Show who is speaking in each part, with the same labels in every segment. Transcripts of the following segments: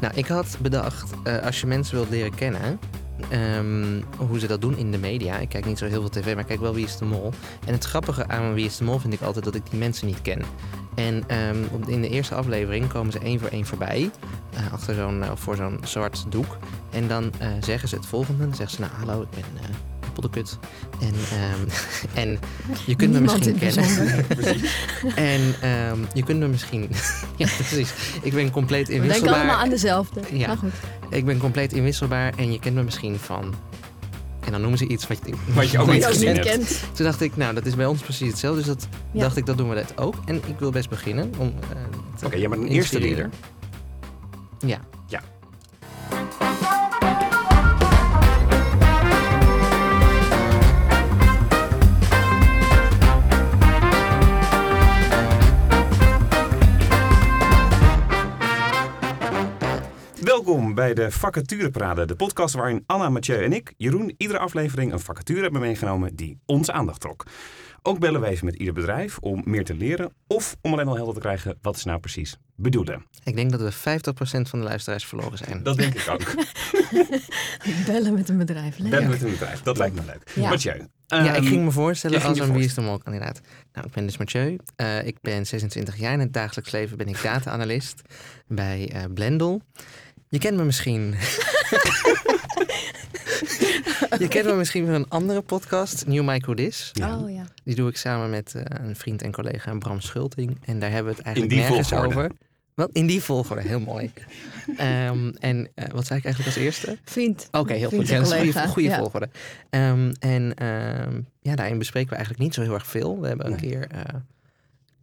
Speaker 1: Nou, ik had bedacht, eh, als je mensen wilt leren kennen, ehm, hoe ze dat doen in de media. Ik kijk niet zo heel veel tv, maar ik kijk wel Wie is de Mol. En het grappige aan Wie is de Mol vind ik altijd dat ik die mensen niet ken. En ehm, op- in de eerste aflevering komen ze één voor één voorbij, eh, achter zo'n, eh, voor zo'n zwart doek. En dan eh, zeggen ze het volgende. Dan zeggen ze, nou hallo, ik ben eh Poddekut. En, ehm, en je kunt me
Speaker 2: Niemand
Speaker 1: misschien
Speaker 2: in het
Speaker 1: kennen. en ehm, je kunt me misschien... ja, precies. Ik ben compleet
Speaker 2: We denken
Speaker 1: inwisselbaar.
Speaker 2: allemaal aan dezelfde.
Speaker 1: Ja.
Speaker 2: Maar goed.
Speaker 1: Ik ben compleet inwisselbaar en je kent me misschien van. En dan noemen ze iets wat je,
Speaker 3: Wat je ook niet
Speaker 2: Die ook
Speaker 3: gezien
Speaker 2: niet
Speaker 3: hebt.
Speaker 2: kent.
Speaker 1: Toen dacht ik, nou, dat is bij ons precies hetzelfde. Dus dat
Speaker 2: Ja.
Speaker 1: dacht ik, dat doen we dat ook. En ik wil best beginnen om. eh, te
Speaker 3: Oké, jij bent een
Speaker 1: inspireren.
Speaker 3: eerste reader.
Speaker 1: Ja.
Speaker 3: Ja. Welkom bij de Vacatureparade, de podcast waarin Anna, Mathieu en ik, Jeroen, iedere aflevering een vacature hebben meegenomen die onze aandacht trok. Ook bellen we even met ieder bedrijf om meer te leren of om alleen al helder te krijgen wat ze nou precies bedoelen.
Speaker 1: Ik denk dat we 50% van de luisteraars verloren zijn.
Speaker 3: Dat denk ik ook.
Speaker 2: Bellen met een bedrijf. Leuk.
Speaker 3: Ben met een bedrijf. Dat lijkt me leuk.
Speaker 2: Ja.
Speaker 3: Mathieu.
Speaker 1: ja, ik
Speaker 3: ehm,
Speaker 1: ging me voorstellen
Speaker 3: jij ging
Speaker 1: als
Speaker 3: je
Speaker 1: een Wie is de Mol kandidaat. Nou, ik ben dus Mathieu. Eh, ik ben 26 jaar en in het dagelijks leven ben ik data-analyst bij eh, Blendel. Je kent me misschien... Je kent me misschien van een andere podcast, New Micro Dis.
Speaker 3: Ja.
Speaker 2: Oh ja.
Speaker 1: Die doe ik samen met eh, een vriend en collega Bram Schulting. En daar hebben we het eigenlijk
Speaker 3: In die
Speaker 1: nergens
Speaker 3: volgorde.
Speaker 1: over. Wel, in die volgorde, heel mooi. Ehm, en eh, wat zei ik eigenlijk als eerste?
Speaker 2: Vriend.
Speaker 1: Oké, heel goed.
Speaker 2: Vriend
Speaker 1: Ja,
Speaker 2: en
Speaker 1: dat is een goede,
Speaker 2: collega,
Speaker 1: goede
Speaker 2: ja.
Speaker 1: volgorde. Ehm, en ehm, ja, daarin bespreken we eigenlijk niet zo heel erg veel. We hebben een
Speaker 3: Nee.
Speaker 1: keer eh,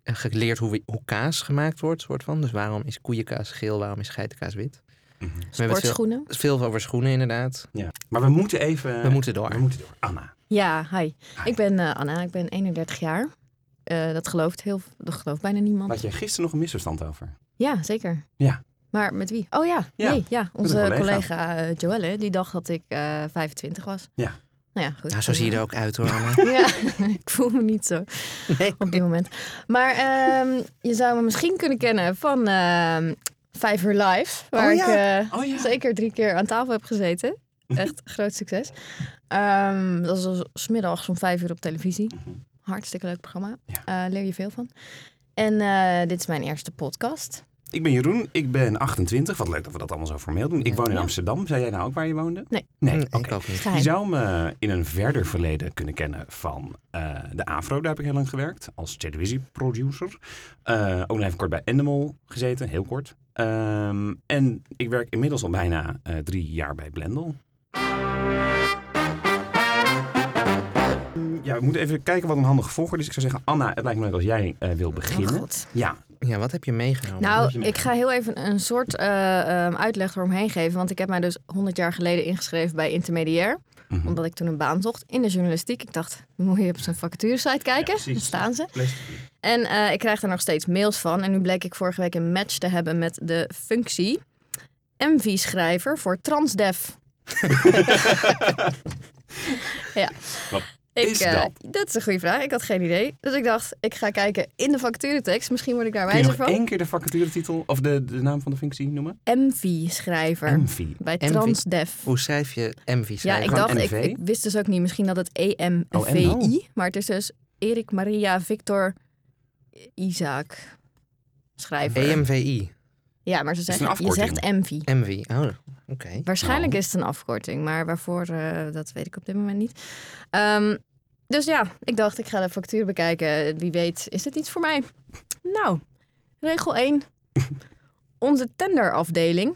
Speaker 1: geleerd hoe, we- hoe kaas gemaakt wordt, soort van. Dus waarom is koeienkaas geel, waarom is geitenkaas wit?
Speaker 3: mhm.
Speaker 1: We hebben het veel,
Speaker 2: Sportschoenen.
Speaker 1: veel over schoenen inderdaad.
Speaker 3: Ja. Maar we moeten even...
Speaker 1: We moeten door.
Speaker 3: we moeten door. Anna.
Speaker 2: Ja, hi.
Speaker 3: Hi.
Speaker 2: Ik ben eh, Anna. Ik ben 31 jaar. Eh, dat gelooft heel, dat gelooft bijna niemand.
Speaker 3: Had jij gisteren nog een misverstand over?
Speaker 2: Ja, zeker.
Speaker 3: Ja.
Speaker 2: Maar met wie? Oh ja,
Speaker 3: Ja,
Speaker 2: nee, ja. onze
Speaker 3: collega.
Speaker 2: collega, eh, Joelle, die dacht dat ik eh, 25 was.
Speaker 3: Ja.
Speaker 2: Nou ja, goed.
Speaker 1: Nou, zo zie je er ook uit hoor, Anne.
Speaker 2: Ja, ik voel me niet zo op dit moment. Maar ehm, je zou me misschien kunnen kennen van ehm Vijf Uur Live. Waar
Speaker 3: Oh ja.
Speaker 2: ik eh,
Speaker 3: Oh ja.
Speaker 2: zeker drie keer aan tafel heb gezeten. Echt groot succes. Ehm, dat was smiddags om vijf uur op televisie.
Speaker 3: Mhm.
Speaker 2: Hartstikke leuk programma. Eh, leer je veel van. En eh, dit is mijn eerste podcast.
Speaker 3: Ik ben Jeroen. Ik ben 28. Wat leuk dat we dat allemaal zo formeel doen. Ik woon in
Speaker 2: Ja.
Speaker 3: Amsterdam. Zei jij nou ook waar je woonde?
Speaker 2: Nee.
Speaker 3: Nee,
Speaker 1: Nee,
Speaker 3: oké.
Speaker 1: Mm, ik ook niet.
Speaker 3: Je
Speaker 2: Geheim.
Speaker 3: zou me in een verder verleden kunnen kennen van eh, de Afro. Daar heb ik heel lang gewerkt als televisieproducer. Eh, ook nog even kort bij Animal gezeten, heel kort. Ehm, en ik werk inmiddels al bijna eh, drie jaar bij Blendel. Ja, we moeten even kijken wat een handige volgorde is. Ik zou zeggen, Anna, het lijkt me leuk als jij eh, wil beginnen.
Speaker 2: God.
Speaker 3: ja,
Speaker 1: Ja, wat heb je meegenomen?
Speaker 3: heb je
Speaker 2: Nou, ik
Speaker 3: meegemaakt?
Speaker 2: ga heel even een soort eh, ehm, uitleg eromheen geven. Want ik heb mij dus 100 jaar geleden ingeschreven bij Intermediair.
Speaker 3: Mhm.
Speaker 2: Omdat ik toen een baan zocht in de journalistiek. Ik dacht, moet je op zijn vacaturesite kijken?
Speaker 3: precies.
Speaker 2: Daar staan ze.
Speaker 3: Plastic.
Speaker 2: En eh, ik krijg er nog steeds mails van. En nu bleek ik vorige week een match te hebben met de functie MV-schrijver voor transdev. ja.
Speaker 3: Wat
Speaker 2: Ik,
Speaker 3: is
Speaker 2: eh,
Speaker 3: dat?
Speaker 2: dat is een goede vraag. Ik had geen idee. Dus ik dacht, ik ga kijken in de vacaturetekst. Misschien word ik daar
Speaker 3: Kun je
Speaker 2: wijzer
Speaker 3: nog
Speaker 2: van.
Speaker 3: één keer de vacaturetitel of de, de naam van de functie noemen?
Speaker 2: MV-schrijver.
Speaker 3: Envy.
Speaker 2: Bij
Speaker 1: MV.
Speaker 2: Transdev.
Speaker 1: Hoe schrijf je MV?
Speaker 2: Ja, ik
Speaker 1: schrijven?
Speaker 2: dacht,
Speaker 3: NV?
Speaker 2: ik, ik wist dus ook niet. Misschien dat het
Speaker 3: Oh, en-
Speaker 2: E-M-V-I.
Speaker 3: oh.
Speaker 2: Maar het is dus Erik Maria Victor Isaac
Speaker 1: E
Speaker 2: schrijver.
Speaker 1: EMVI,
Speaker 2: Ja, maar ze
Speaker 3: het
Speaker 2: zeggen,
Speaker 3: een
Speaker 2: je
Speaker 3: afkorting?
Speaker 2: zegt MV.
Speaker 1: MV. Oh, oké.
Speaker 2: Waarschijnlijk
Speaker 3: Oh.
Speaker 2: is het een afkorting, maar waarvoor, eh, dat weet ik op dit moment niet. Ehm, dus ja, ik dacht, ik ga de factuur bekijken. Wie weet, is dit iets voor mij? Nou, regel 1. Onze tenderafdeling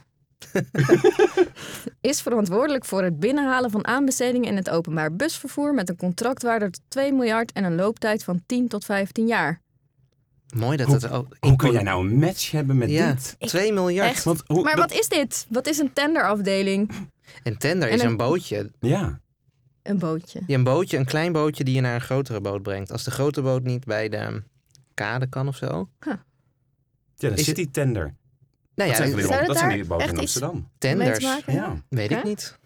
Speaker 2: is verantwoordelijk voor het binnenhalen van aanbestedingen in het openbaar busvervoer met een contractwaarde tot 2 miljard en een looptijd van 10 tot 15 jaar.
Speaker 1: Mooi dat
Speaker 3: Hoe-
Speaker 1: het ook...
Speaker 3: Hoe kun jij nou een match hebben met
Speaker 1: Ja,
Speaker 3: dit?
Speaker 1: 2 miljard.
Speaker 2: Echt?
Speaker 3: Want hoe,
Speaker 2: Maar
Speaker 3: dat-
Speaker 2: wat is dit? Wat is een tenderafdeling?
Speaker 1: En tender
Speaker 2: En
Speaker 1: is
Speaker 2: een-
Speaker 1: een bootje.
Speaker 3: Ja,
Speaker 2: Een bootje.
Speaker 1: Je een bootje, een klein bootje die je naar een grotere boot brengt. Als de grote boot niet bij de kade kan of zo.
Speaker 3: ja dan
Speaker 1: Is-
Speaker 3: zit die tender.
Speaker 1: Nou
Speaker 3: dat
Speaker 1: ja,
Speaker 3: zijn van die,
Speaker 2: zou
Speaker 3: dat
Speaker 2: dat
Speaker 3: zijn
Speaker 2: daar
Speaker 3: die boten in
Speaker 2: echt iets-
Speaker 3: Amsterdam.
Speaker 2: Mee te
Speaker 1: tenders.
Speaker 2: maken?
Speaker 3: Ja.
Speaker 1: Weet ik
Speaker 2: Hè?
Speaker 1: niet.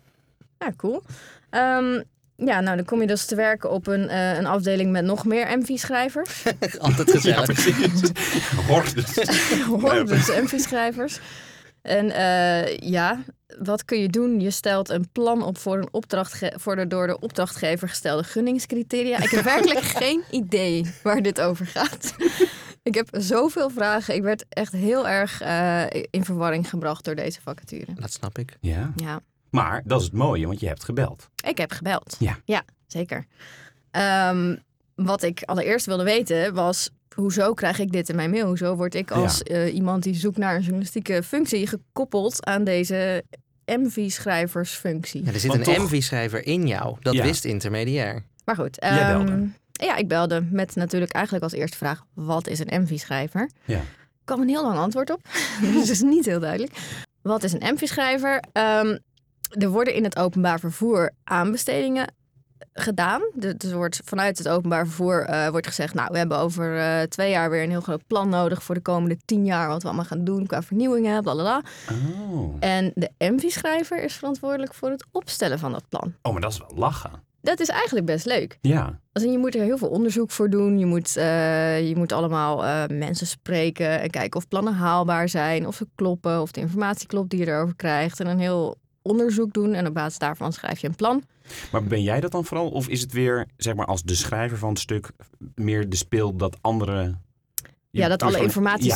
Speaker 2: Ja, Ah, cool. Ehm, ja, nou dan kom je dus te werken op een, eh, een afdeling met nog meer MV-schrijvers.
Speaker 1: Altijd
Speaker 3: Ja,
Speaker 1: gezellig.
Speaker 3: precies. Hordes.
Speaker 2: Hoor, dus MV-schrijvers. En eh, ja, wat kun je doen? Je stelt een plan op voor, een opdrachtge- voor de door de opdrachtgever gestelde gunningscriteria. Ik heb werkelijk geen idee waar dit over gaat. Ik heb zoveel vragen. Ik werd echt heel erg eh, in verwarring gebracht door deze vacature.
Speaker 1: Dat snap ik.
Speaker 3: Ja.
Speaker 2: Ja,
Speaker 3: Maar dat is het mooie, want je hebt gebeld.
Speaker 2: ik heb gebeld.
Speaker 3: Ja.
Speaker 2: zeker. Ehm, wat ik allereerst wilde weten was... Hoezo krijg ik dit in mijn mail? Hoezo word ik als eh, iemand die zoekt naar een journalistieke functie... gekoppeld aan deze MV-schrijversfunctie?
Speaker 1: Ja, er zit
Speaker 3: Want
Speaker 1: een
Speaker 3: toch-
Speaker 1: MV-schrijver in jou. Dat
Speaker 3: Ja.
Speaker 1: wist intermediair.
Speaker 2: Maar goed.
Speaker 3: Jij
Speaker 2: ehm,
Speaker 3: belde.
Speaker 2: Ja, ik belde met natuurlijk eigenlijk als eerste vraag... wat is een MV-schrijver?
Speaker 3: Ja.
Speaker 2: Er kwam een heel lang antwoord op. dus het is niet heel duidelijk. Wat is een MV-schrijver? Ehm, er worden in het openbaar vervoer aanbestedingen gedaan. De- Dus er wordt vanuit het openbaar vervoer eh, wordt gezegd... nou, we hebben over eh, twee jaar weer een heel groot plan nodig... voor de komende tien jaar wat we allemaal gaan doen qua vernieuwingen, blablabla.
Speaker 3: Oh.
Speaker 2: En de MV-schrijver is verantwoordelijk voor het opstellen van dat plan.
Speaker 3: oh, maar dat is wel lachen.
Speaker 2: Dat is eigenlijk best leuk.
Speaker 3: Ja.
Speaker 2: Als in, je moet er heel veel onderzoek voor doen. Je moet, eh, je moet allemaal eh, mensen spreken en kijken of plannen haalbaar zijn, of ze kloppen, of de informatie klopt die je erover krijgt. En een heel onderzoek doen en op basis daarvan schrijf je een plan.
Speaker 3: Maar ben jij dat dan vooral? Of is het weer, zeg maar, als de schrijver van het stuk meer de speel dat andere...
Speaker 2: Ja, dat alle informatie
Speaker 3: Ja.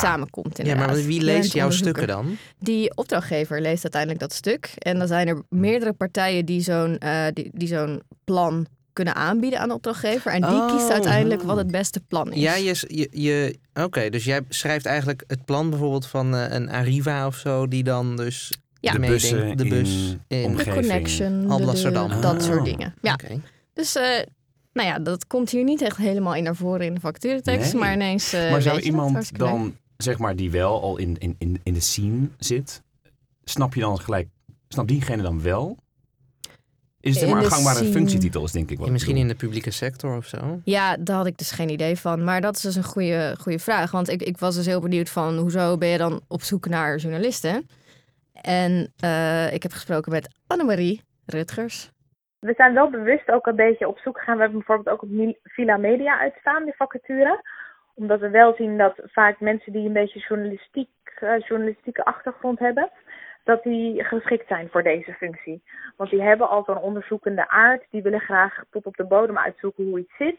Speaker 1: dus
Speaker 2: samenkomt
Speaker 1: Ja,
Speaker 2: inderdaad.
Speaker 1: maar wie
Speaker 2: Je
Speaker 1: leest
Speaker 2: bent
Speaker 1: jouw
Speaker 2: onderzoeker.
Speaker 1: stukken dan?
Speaker 2: Die opdrachtgever leest uiteindelijk dat stuk. En dan zijn er meerdere partijen die zo'n eh, die, die zo'n plan kunnen aanbieden aan de opdrachtgever. En die
Speaker 1: Oh.
Speaker 2: kiest uiteindelijk wat het beste plan is.
Speaker 1: Ja, je, je, je- oké, dus jij schrijft eigenlijk het plan bijvoorbeeld van eh, een Arriva of zo, die dan dus
Speaker 2: Ja.
Speaker 3: De
Speaker 1: meedenkt.
Speaker 3: bussen
Speaker 1: de
Speaker 3: in
Speaker 1: bus in.
Speaker 3: omge-
Speaker 2: de
Speaker 3: omgeving.
Speaker 2: connection, de
Speaker 1: Alblasserdam.
Speaker 2: deur, dat
Speaker 3: Ah.
Speaker 2: soort dingen. Ja.
Speaker 1: Oké.
Speaker 2: Dus eh, nou ja, dat komt hier niet echt helemaal in naar voren in de vacaturetekst.
Speaker 3: Nee.
Speaker 2: Maar ineens. eh,
Speaker 3: maar zou
Speaker 2: weet je dat,
Speaker 3: iemand
Speaker 2: hartstikke
Speaker 3: dan,
Speaker 2: leuk.
Speaker 3: zeg maar, die wel al in, in, in, in de scene zit, snap je dan gelijk, snapt diegene dan wel?
Speaker 2: In
Speaker 3: Is het zeg maar een
Speaker 2: de
Speaker 3: gangbare
Speaker 2: scene.
Speaker 3: functietitel, is denk ik wat
Speaker 1: Ja,
Speaker 3: ik
Speaker 1: Misschien
Speaker 3: bedoel.
Speaker 1: in de publieke sector of zo.
Speaker 2: Ja, daar had ik dus geen idee van. Maar dat is dus een goede, goede vraag. Want ik, ik was dus heel benieuwd van hoezo ben je dan op zoek naar journalisten? En eh, ik heb gesproken met Annemarie Rutgers.
Speaker 4: we zijn wel bewust ook een beetje op zoek gegaan. We hebben bijvoorbeeld ook op Mil- Villa Media uitstaan, die vacature. Omdat we wel zien dat vaak mensen die een beetje journalistiek, eh, journalistieke achtergrond hebben, dat die geschikt zijn voor deze functie. Want die hebben al zo'n onderzoekende aard. Die willen graag tot op de bodem uitzoeken hoe iets zit.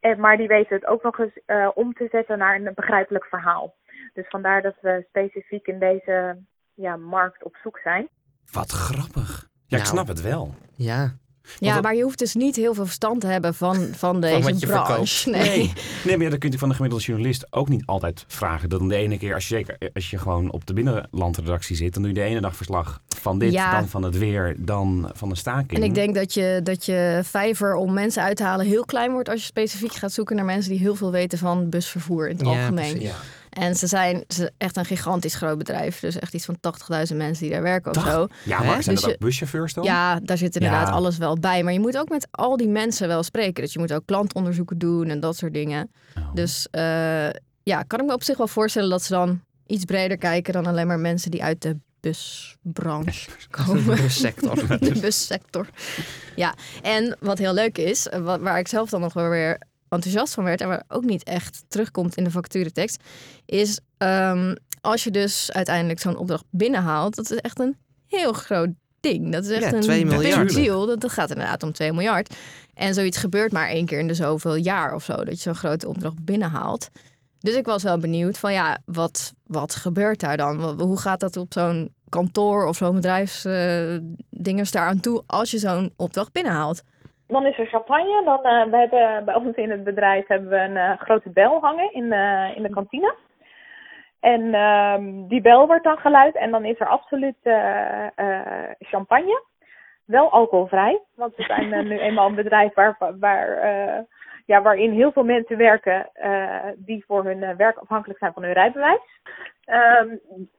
Speaker 4: En, maar die weten het ook nog eens eh, om te zetten naar een begrijpelijk verhaal. Dus vandaar dat we specifiek in deze ja, markt op zoek zijn.
Speaker 3: Wat grappig. Ja, ik
Speaker 1: Nou.
Speaker 3: snap het wel.
Speaker 1: Ja,
Speaker 2: Ja,
Speaker 3: dat-
Speaker 2: maar je hoeft dus niet heel veel verstand te hebben van, van deze
Speaker 1: wat je
Speaker 2: branche. Nee.
Speaker 3: Nee, maar ja, dat kun je van de gemiddelde journalist ook niet altijd vragen. Dat dan de ene keer, als je, zeker als je gewoon op de binnenlandredactie zit, dan doe je de ene dag verslag van dit,
Speaker 2: Ja.
Speaker 3: dan van het weer, dan van de staking.
Speaker 2: En ik denk dat je, dat je vijver om mensen uit te halen heel klein wordt als je specifiek gaat zoeken naar mensen die heel veel weten van busvervoer in het
Speaker 1: Ja,
Speaker 2: algemeen.
Speaker 1: precies.
Speaker 3: Ja.
Speaker 2: En ze zijn ze, echt een gigantisch groot bedrijf. Dus echt iets van 80.000 mensen die daar werken of
Speaker 3: Dag.
Speaker 2: zo.
Speaker 3: Ja, maar
Speaker 1: Hè?
Speaker 3: zijn
Speaker 2: Dus
Speaker 3: dat
Speaker 2: je-
Speaker 3: ook buschauffeurs dan?
Speaker 2: Ja, daar zit inderdaad
Speaker 3: Ja.
Speaker 2: alles wel bij. Maar je moet ook met al die mensen wel spreken. Dus je moet ook klantonderzoeken doen en dat soort dingen.
Speaker 3: Oh.
Speaker 2: Dus eh, ja, kan ik me op zich wel voorstellen dat ze dan iets breder kijken dan alleen maar mensen die uit de busbranche komen.
Speaker 1: de sector.
Speaker 2: de bussector. Ja, en wat heel leuk is, eh, wa- waar ik zelf dan nog wel weer enthousiast van werd... en waar ook niet echt terugkomt in de vacaturetekst... is ehm, als je dus uiteindelijk zo'n opdracht binnenhaalt... dat is echt een heel groot ding. Dat is echt
Speaker 1: Ja,
Speaker 2: een
Speaker 1: 2 miljard.
Speaker 2: big deal. Dat, dat gaat inderdaad om 2 miljard. En zoiets gebeurt maar één keer in de zoveel jaar of zo... dat je zo'n grote opdracht binnenhaalt. Dus ik was wel benieuwd van ja, wat, wat gebeurt daar dan? Wa- Hoe gaat dat op zo'n kantoor of zo'n bedrijfsdinges daar aan toe als je zo'n opdracht binnenhaalt?
Speaker 4: Dan is er champagne. Dan, eh, we hebben, bij ons in het bedrijf hebben we een eh, grote bel hangen in, de- in de kantine. En ehm, die bel wordt dan geluid en dan is er absoluut eh, eh, champagne. Wel alcoholvrij, want we zijn eh, nu eenmaal een bedrijf waar, waar, eh, ja, waarin heel veel mensen werken eh, die voor hun eh, werk afhankelijk zijn van hun rijbewijs. Ehm,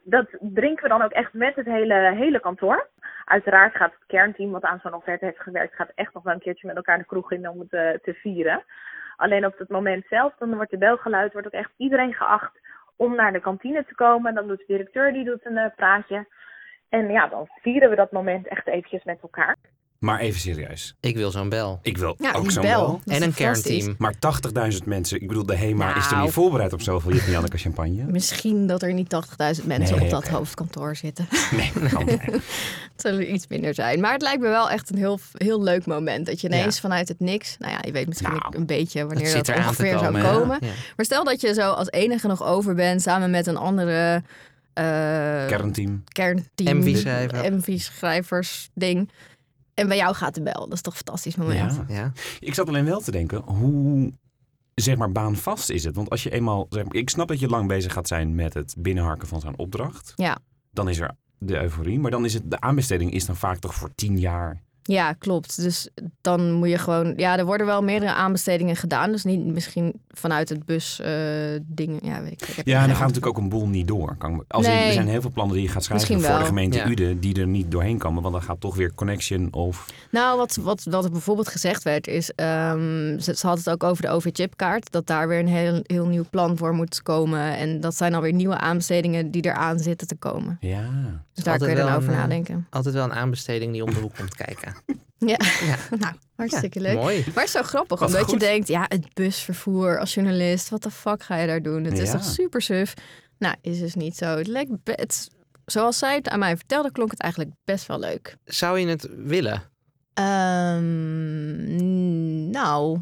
Speaker 4: dat drinken we dan ook echt met het hele, hele kantoor. Uiteraard gaat het kernteam wat aan zo'n offerte heeft gewerkt, gaat echt nog wel een keertje met elkaar de kroeg in om het eh, te vieren. Alleen op het moment zelf, dan wordt de bel geluid, wordt ook echt iedereen geacht om naar de kantine te komen. Dan doet de directeur, die doet een eh, praatje. En ja, dan vieren we dat moment echt eventjes met elkaar.
Speaker 3: Maar even serieus.
Speaker 1: Ik wil zo'n bel.
Speaker 3: Ik wil
Speaker 2: Ja,
Speaker 3: ook
Speaker 2: die
Speaker 3: zo'n
Speaker 2: bel.
Speaker 3: bel.
Speaker 2: Dat
Speaker 1: en
Speaker 2: is
Speaker 1: een
Speaker 2: fantastisch.
Speaker 1: kernteam.
Speaker 3: Maar 80.000 mensen, ik bedoel, de HEMA is er
Speaker 2: Nou.
Speaker 3: niet voorbereid op zoveel Jip en Janneke champagne.
Speaker 2: Misschien dat er niet 80.000 mensen
Speaker 3: Nee,
Speaker 2: op dat
Speaker 3: oké.
Speaker 2: hoofdkantoor zitten.
Speaker 3: Nee, kan niet.
Speaker 2: Het zal er iets minder zijn. Maar het lijkt me wel echt een heel, heel leuk moment. Dat je ineens vanuit het niks... Nou ja, je weet misschien
Speaker 3: Nou,
Speaker 2: een beetje wanneer
Speaker 1: zit
Speaker 2: dat
Speaker 1: eraan te
Speaker 2: ongeveer
Speaker 1: komen,
Speaker 2: zou
Speaker 1: ja.
Speaker 2: komen.
Speaker 1: Ja.
Speaker 2: Maar stel dat je zo als enige nog over bent... samen met een andere eh,
Speaker 3: Kernteam.
Speaker 2: kernteam...
Speaker 1: MV-schrijver.
Speaker 2: MV-schrijvers ding. En bij jou gaat de bel. Dat is toch een fantastisch moment.
Speaker 3: Ja.
Speaker 1: Ja.
Speaker 3: Ik zat alleen wel te denken, hoe zeg maar baanvast is het? Want als je eenmaal, zeg maar, ik snap dat je lang bezig gaat zijn met het binnenharken van zo'n opdracht.
Speaker 2: Ja.
Speaker 3: Dan is er de euforie, maar dan is het, de aanbesteding is dan vaak toch voor tien jaar.
Speaker 2: Ja, klopt. Dus dan moet je gewoon. Ja, er worden wel meerdere aanbestedingen gedaan. Dus niet misschien vanuit het bus eh, dingen. Ja, weet ik. ik heb
Speaker 3: Ja,
Speaker 2: geen
Speaker 3: en dan gaat
Speaker 2: idee.
Speaker 3: natuurlijk ook een boel niet door. Kan, als in,
Speaker 2: Nee.
Speaker 3: er zijn heel veel plannen die je gaat schrijven
Speaker 2: Misschien
Speaker 3: voor de
Speaker 2: wel.
Speaker 3: gemeente
Speaker 1: Ja.
Speaker 3: Uden die er niet doorheen komen. Want dan gaat toch weer Connection of...
Speaker 2: Nou, wat, wat, wat er bijvoorbeeld gezegd werd is. ehm, ze, ze had het ook over de OV-chipkaart. Dat daar weer een heel, heel nieuw plan voor moet komen. En dat zijn alweer nieuwe aanbestedingen die eraan zitten te komen.
Speaker 3: Ja.
Speaker 2: Dus daar kun
Speaker 1: altijd
Speaker 2: je dan
Speaker 1: wel
Speaker 2: over
Speaker 1: een, eh,
Speaker 2: nadenken.
Speaker 1: Altijd wel een aanbesteding die om de hoek komt kijken.
Speaker 2: Ja,
Speaker 1: Ja.
Speaker 2: nou, hartstikke
Speaker 1: Ja,
Speaker 2: leuk.
Speaker 1: Mooi.
Speaker 2: Maar het is zo grappig,
Speaker 3: Wat
Speaker 2: omdat je
Speaker 3: goed.
Speaker 2: denkt, ja, het busvervoer als journalist, wat de fuck ga je daar doen? Het is
Speaker 3: Ja.
Speaker 2: toch super suf? Nou, is dus niet zo. Het lijkt be- het- zoals zij het aan mij vertelde, klonk het eigenlijk best wel leuk.
Speaker 1: Zou je het willen?
Speaker 2: Ehm, nou,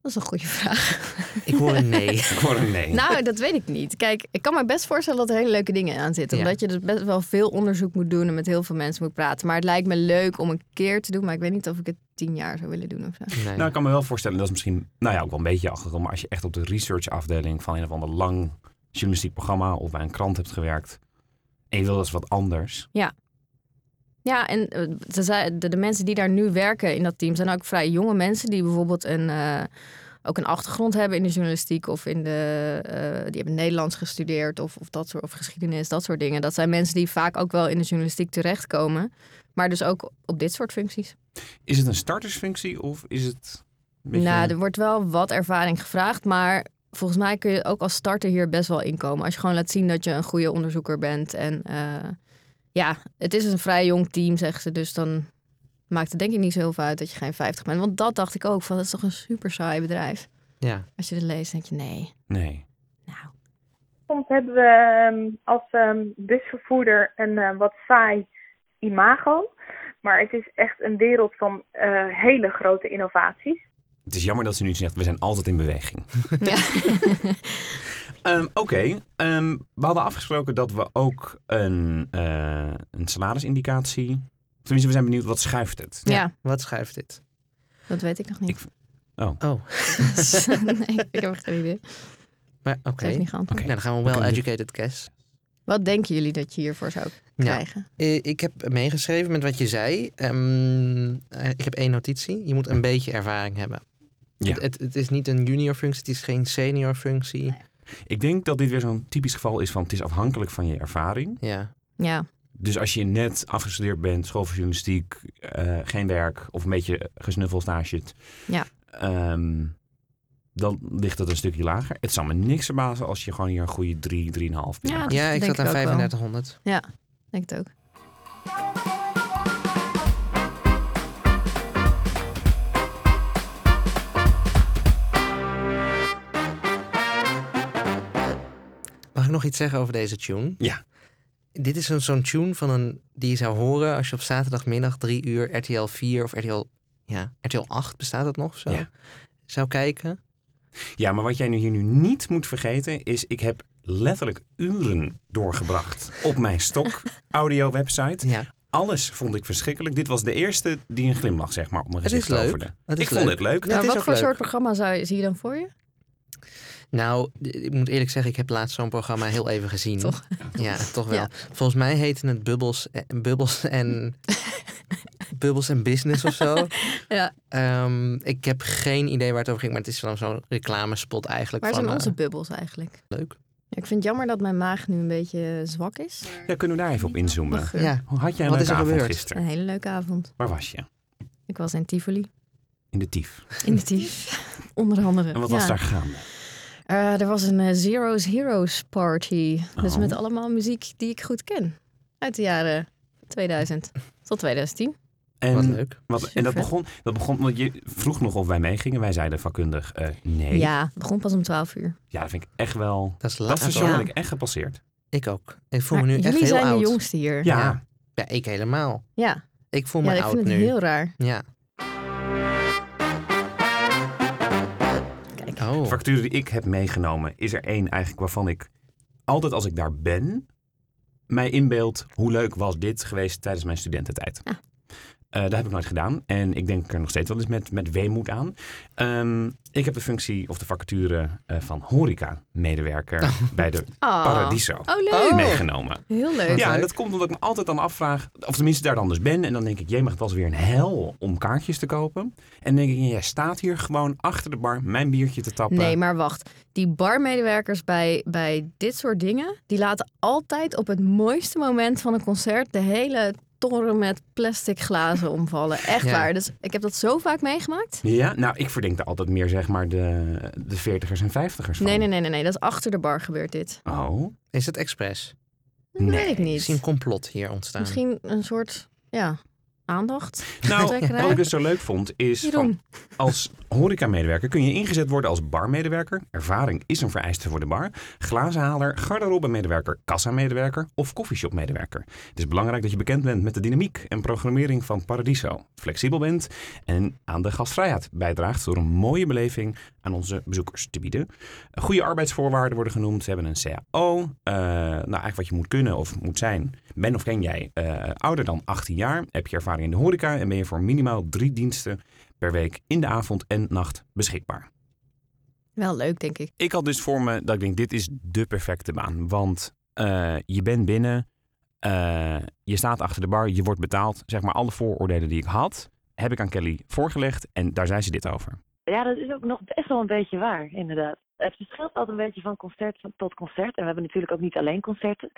Speaker 2: dat is een goede vraag.
Speaker 1: Ik hoor een nee.
Speaker 3: Ik hoor een nee.
Speaker 2: nou, dat weet ik niet. Kijk, ik kan me best voorstellen dat er hele leuke dingen aan zitten.
Speaker 1: Ja.
Speaker 2: Omdat je dus best wel veel onderzoek moet doen en met heel veel mensen moet praten. Maar het lijkt me leuk om een keer te doen, maar ik weet niet of ik het tien jaar zou willen doen of zo.
Speaker 1: Nee.
Speaker 3: Nou, ik kan me wel voorstellen, dat is misschien nou ja, ook wel een beetje achtergrond. Maar als je echt op de researchafdeling van een of ander lang journalistiek programma of bij een krant hebt gewerkt. En je wil dat eens wat anders.
Speaker 2: Ja, en eh, ze zei- de, de mensen die daar nu werken in dat team zijn ook vrij jonge mensen die bijvoorbeeld een, eh, ook een achtergrond hebben in de journalistiek of in de, eh, die hebben Nederlands gestudeerd of, of, dat soort, of geschiedenis, dat soort dingen. Dat zijn mensen die vaak ook wel in de journalistiek terechtkomen, maar dus ook op dit soort functies.
Speaker 3: Is het een startersfunctie of is het een beetje...
Speaker 2: Nou, er wordt wel wat ervaring gevraagd, maar volgens mij kun je ook als starter hier best wel inkomen. Als je gewoon laat zien dat je een goede onderzoeker bent. En eh, ja, het is dus een vrij jong team, zeggen ze. Dus dan maakt het denk ik niet zo heel veel uit dat je geen 50 bent. Want dat dacht ik ook, van dat is toch een super saai bedrijf.
Speaker 1: Ja.
Speaker 2: Als je dit leest, denk je nee.
Speaker 3: Nee.
Speaker 2: Nou,
Speaker 4: Soms hebben we ehm, als ehm, busvervoerder een eh, wat saai imago. Maar het is echt een wereld van eh, hele grote innovaties.
Speaker 3: Het is jammer dat ze nu zegt, we zijn altijd in beweging.
Speaker 2: ja.
Speaker 3: Ehm, Oké, ehm, we hadden afgesproken dat we ook een, eh, een salarisindicatie... Of Tenminste, we zijn benieuwd, wat schuift het?
Speaker 2: ja,
Speaker 1: Wat schuift dit?
Speaker 2: dat weet ik nog niet.
Speaker 1: Oh,
Speaker 2: nee, ik heb echt geen idee. Ik
Speaker 1: maar oké.
Speaker 2: heb het niet geantwoord.
Speaker 1: Nou,
Speaker 3: Oké.
Speaker 1: dan gaan we
Speaker 3: Dan
Speaker 1: wel
Speaker 3: kan je-
Speaker 1: educated guess.
Speaker 2: Wat denken jullie dat je hiervoor zou
Speaker 1: Ja.
Speaker 2: krijgen?
Speaker 1: Eh, Ik heb meegeschreven met wat je zei. Ehm, eh, ik heb één notitie. Je moet een beetje ervaring hebben.
Speaker 3: Ja.
Speaker 1: Het, het, het is niet een junior functie, het is geen senior functie.
Speaker 3: Ik denk dat dit weer zo'n typisch geval is van het is afhankelijk van je ervaring.
Speaker 1: Ja.
Speaker 2: Ja,
Speaker 3: Dus als je net afgestudeerd bent, school voor journalistiek, eh, geen werk of een beetje gesnuffelstage.
Speaker 2: Ja.
Speaker 3: Ehm, dan ligt het een stukje lager. Het zal me niks verbazen als je gewoon hier een goede 3, 3,5 bent.
Speaker 2: Ja. Ah, dus dat
Speaker 1: Ja, ik
Speaker 2: denk
Speaker 1: zat
Speaker 2: ik
Speaker 1: aan
Speaker 2: ook wel.
Speaker 1: 3500.
Speaker 2: denk het ook.
Speaker 1: Mag ik nog iets zeggen over deze tune?
Speaker 3: Ja.
Speaker 1: Dit is een- zo'n tune van een, die je zou horen als je op zaterdagmiddag 3 uur RTL 4 of RTL, ja, RTL 8 bestaat dat nog of zo?
Speaker 3: Ja.
Speaker 1: Zou kijken.
Speaker 3: Ja, maar wat jij nu hier nu niet moet vergeten is, ik heb letterlijk uren doorgebracht op mijn stok audio website.
Speaker 1: Ja.
Speaker 3: Alles vond ik verschrikkelijk. Dit was de eerste die een glimlach zeg maar op mijn
Speaker 1: Het is
Speaker 3: gezicht
Speaker 1: leuk.
Speaker 3: toverde.
Speaker 1: Het is
Speaker 3: ik vond
Speaker 1: leuk.
Speaker 3: het leuk.
Speaker 1: Ja,
Speaker 2: Nou,
Speaker 1: het is
Speaker 2: wat
Speaker 1: ook
Speaker 2: voor
Speaker 1: leuk.
Speaker 2: soort programma zou, zie je dan voor je?
Speaker 1: Nou, d- ik moet eerlijk zeggen, ik heb laatst zo'n programma heel even gezien.
Speaker 2: Toch?
Speaker 1: Ja, toch wel.
Speaker 2: Ja.
Speaker 1: Volgens mij heten het Bubbles en, Bubbles en, Bubbles en Business of zo.
Speaker 2: Ja.
Speaker 1: Ehm, ik heb geen idee waar het over ging, maar het is dan zo'n reclamespot eigenlijk.
Speaker 2: Waar
Speaker 1: van,
Speaker 2: zijn
Speaker 1: eh,
Speaker 2: onze bubbels eigenlijk?
Speaker 1: leuk.
Speaker 2: Ja, ik vind het jammer dat mijn maag nu een beetje eh, zwak is.
Speaker 3: Ja, kunnen we daar even op
Speaker 2: Mijn
Speaker 3: inzoomen?
Speaker 2: geur.
Speaker 1: Ja,
Speaker 3: Hoe had jij een
Speaker 1: Wat
Speaker 3: leuke
Speaker 1: is er
Speaker 3: avond
Speaker 1: gebeurd?
Speaker 3: gisteren?
Speaker 2: Een hele leuke avond.
Speaker 3: Waar was je?
Speaker 2: Ik was in Tivoli.
Speaker 3: In de tief.
Speaker 2: In de Tief. Onder andere.
Speaker 3: En wat
Speaker 2: Ja.
Speaker 3: was daar gaande?
Speaker 2: Eh, er was een eh, Zero's Heroes party. Dus
Speaker 3: Oh.
Speaker 2: met allemaal muziek die ik goed ken. Uit de jaren 2000 tot 2010.
Speaker 3: En,
Speaker 1: Wat leuk.
Speaker 3: wat- en dat,
Speaker 2: Super.
Speaker 3: begon, dat begon, want je vroeg nog of wij meegingen. Wij zeiden vakkundig eh, nee.
Speaker 2: Ja, het begon pas om 12 uur.
Speaker 3: Ja, dat vind ik echt wel...
Speaker 1: Dat is
Speaker 3: Dat
Speaker 1: laat.
Speaker 3: station
Speaker 2: Ja.
Speaker 3: had ik echt gepasseerd.
Speaker 1: Ik ook. Ik voel
Speaker 2: Maar
Speaker 1: me nu echt
Speaker 2: jullie
Speaker 1: heel
Speaker 2: zijn
Speaker 1: oud.
Speaker 2: de jongste hier.
Speaker 3: Ja.
Speaker 1: Ja. Ja, ik helemaal.
Speaker 2: ja.
Speaker 1: Ik voel
Speaker 2: Ja,
Speaker 1: me
Speaker 2: ik
Speaker 1: oud
Speaker 2: vind het
Speaker 1: nu.
Speaker 2: heel raar.
Speaker 1: Ja.
Speaker 2: Kijk.
Speaker 1: Oh.
Speaker 3: De factuur die ik heb meegenomen is er één eigenlijk waarvan ik altijd als ik daar ben, mij inbeeld hoe leuk was dit geweest tijdens mijn studententijd.
Speaker 2: Ah.
Speaker 3: Eh, dat heb ik nooit gedaan en ik denk er nog steeds wel eens met, met weemoed aan. Ehm, ik heb de functie of de vacature eh, van horeca-medewerker bij de
Speaker 2: Oh.
Speaker 3: Paradiso
Speaker 2: Oh, leuk.
Speaker 1: Oh.
Speaker 3: meegenomen.
Speaker 2: Heel leuk.
Speaker 1: Wat
Speaker 3: Ja, en
Speaker 1: leuk.
Speaker 3: dat komt omdat ik me altijd dan afvraag, of tenminste daar dan dus ben. En dan denk ik, jemig, het was weer een hel om kaartjes te kopen. En dan denk ik, jij staat hier gewoon achter de bar mijn biertje te tappen.
Speaker 2: Nee, maar wacht. Die barmedewerkers bij, bij dit soort dingen, die laten altijd op het mooiste moment van een concert de hele toren met plastic glazen omvallen. Echt
Speaker 1: Ja.
Speaker 2: waar. Dus ik heb dat zo vaak meegemaakt.
Speaker 3: Ja, nou, ik verdenk daar altijd meer zeg maar de, de 40ers en 50ers van.
Speaker 2: Nee, nee, nee, nee, nee. Dat is achter de bar gebeurt dit.
Speaker 3: Oh,
Speaker 1: Is het expres?
Speaker 2: Dat
Speaker 3: Nee,
Speaker 2: weet ik niet.
Speaker 1: Misschien een complot hier ontstaan.
Speaker 2: Misschien een soort ja, aandacht.
Speaker 3: nou,
Speaker 2: Trekker, hè?
Speaker 3: wat ik dus zo leuk vond is, van,
Speaker 2: Jeroen.
Speaker 3: als horecamedewerker kun je ingezet worden als barmedewerker. Ervaring is een vereiste voor de bar. Glazenhaler, garderobemedewerker, kassamedewerker of koffieshopmedewerker. Het is belangrijk dat je bekend bent met de dynamiek en programmering van Paradiso. Flexibel bent en aan de gastvrijheid bijdraagt door een mooie beleving aan onze bezoekers te bieden. Goede arbeidsvoorwaarden worden genoemd. Ze hebben een CAO. eh, nou, eigenlijk wat je moet kunnen of moet zijn. Ben of ken jij eh, ouder dan 18 jaar? Heb je ervaring in de horeca en ben je voor minimaal drie diensten per week in de avond en nacht beschikbaar?
Speaker 2: Wel leuk, denk ik.
Speaker 3: Ik had dus voor me dat ik denk: dit is de perfecte baan. Want eh, je bent binnen, eh, je staat achter de bar, je wordt betaald. Zeg maar alle vooroordelen die ik had, heb ik aan Kelly voorgelegd. En daar zei ze dit over.
Speaker 5: Ja, dat is ook nog best wel een beetje waar, inderdaad. Het verschilt altijd een beetje van concert tot concert. En we hebben natuurlijk ook niet alleen concerten.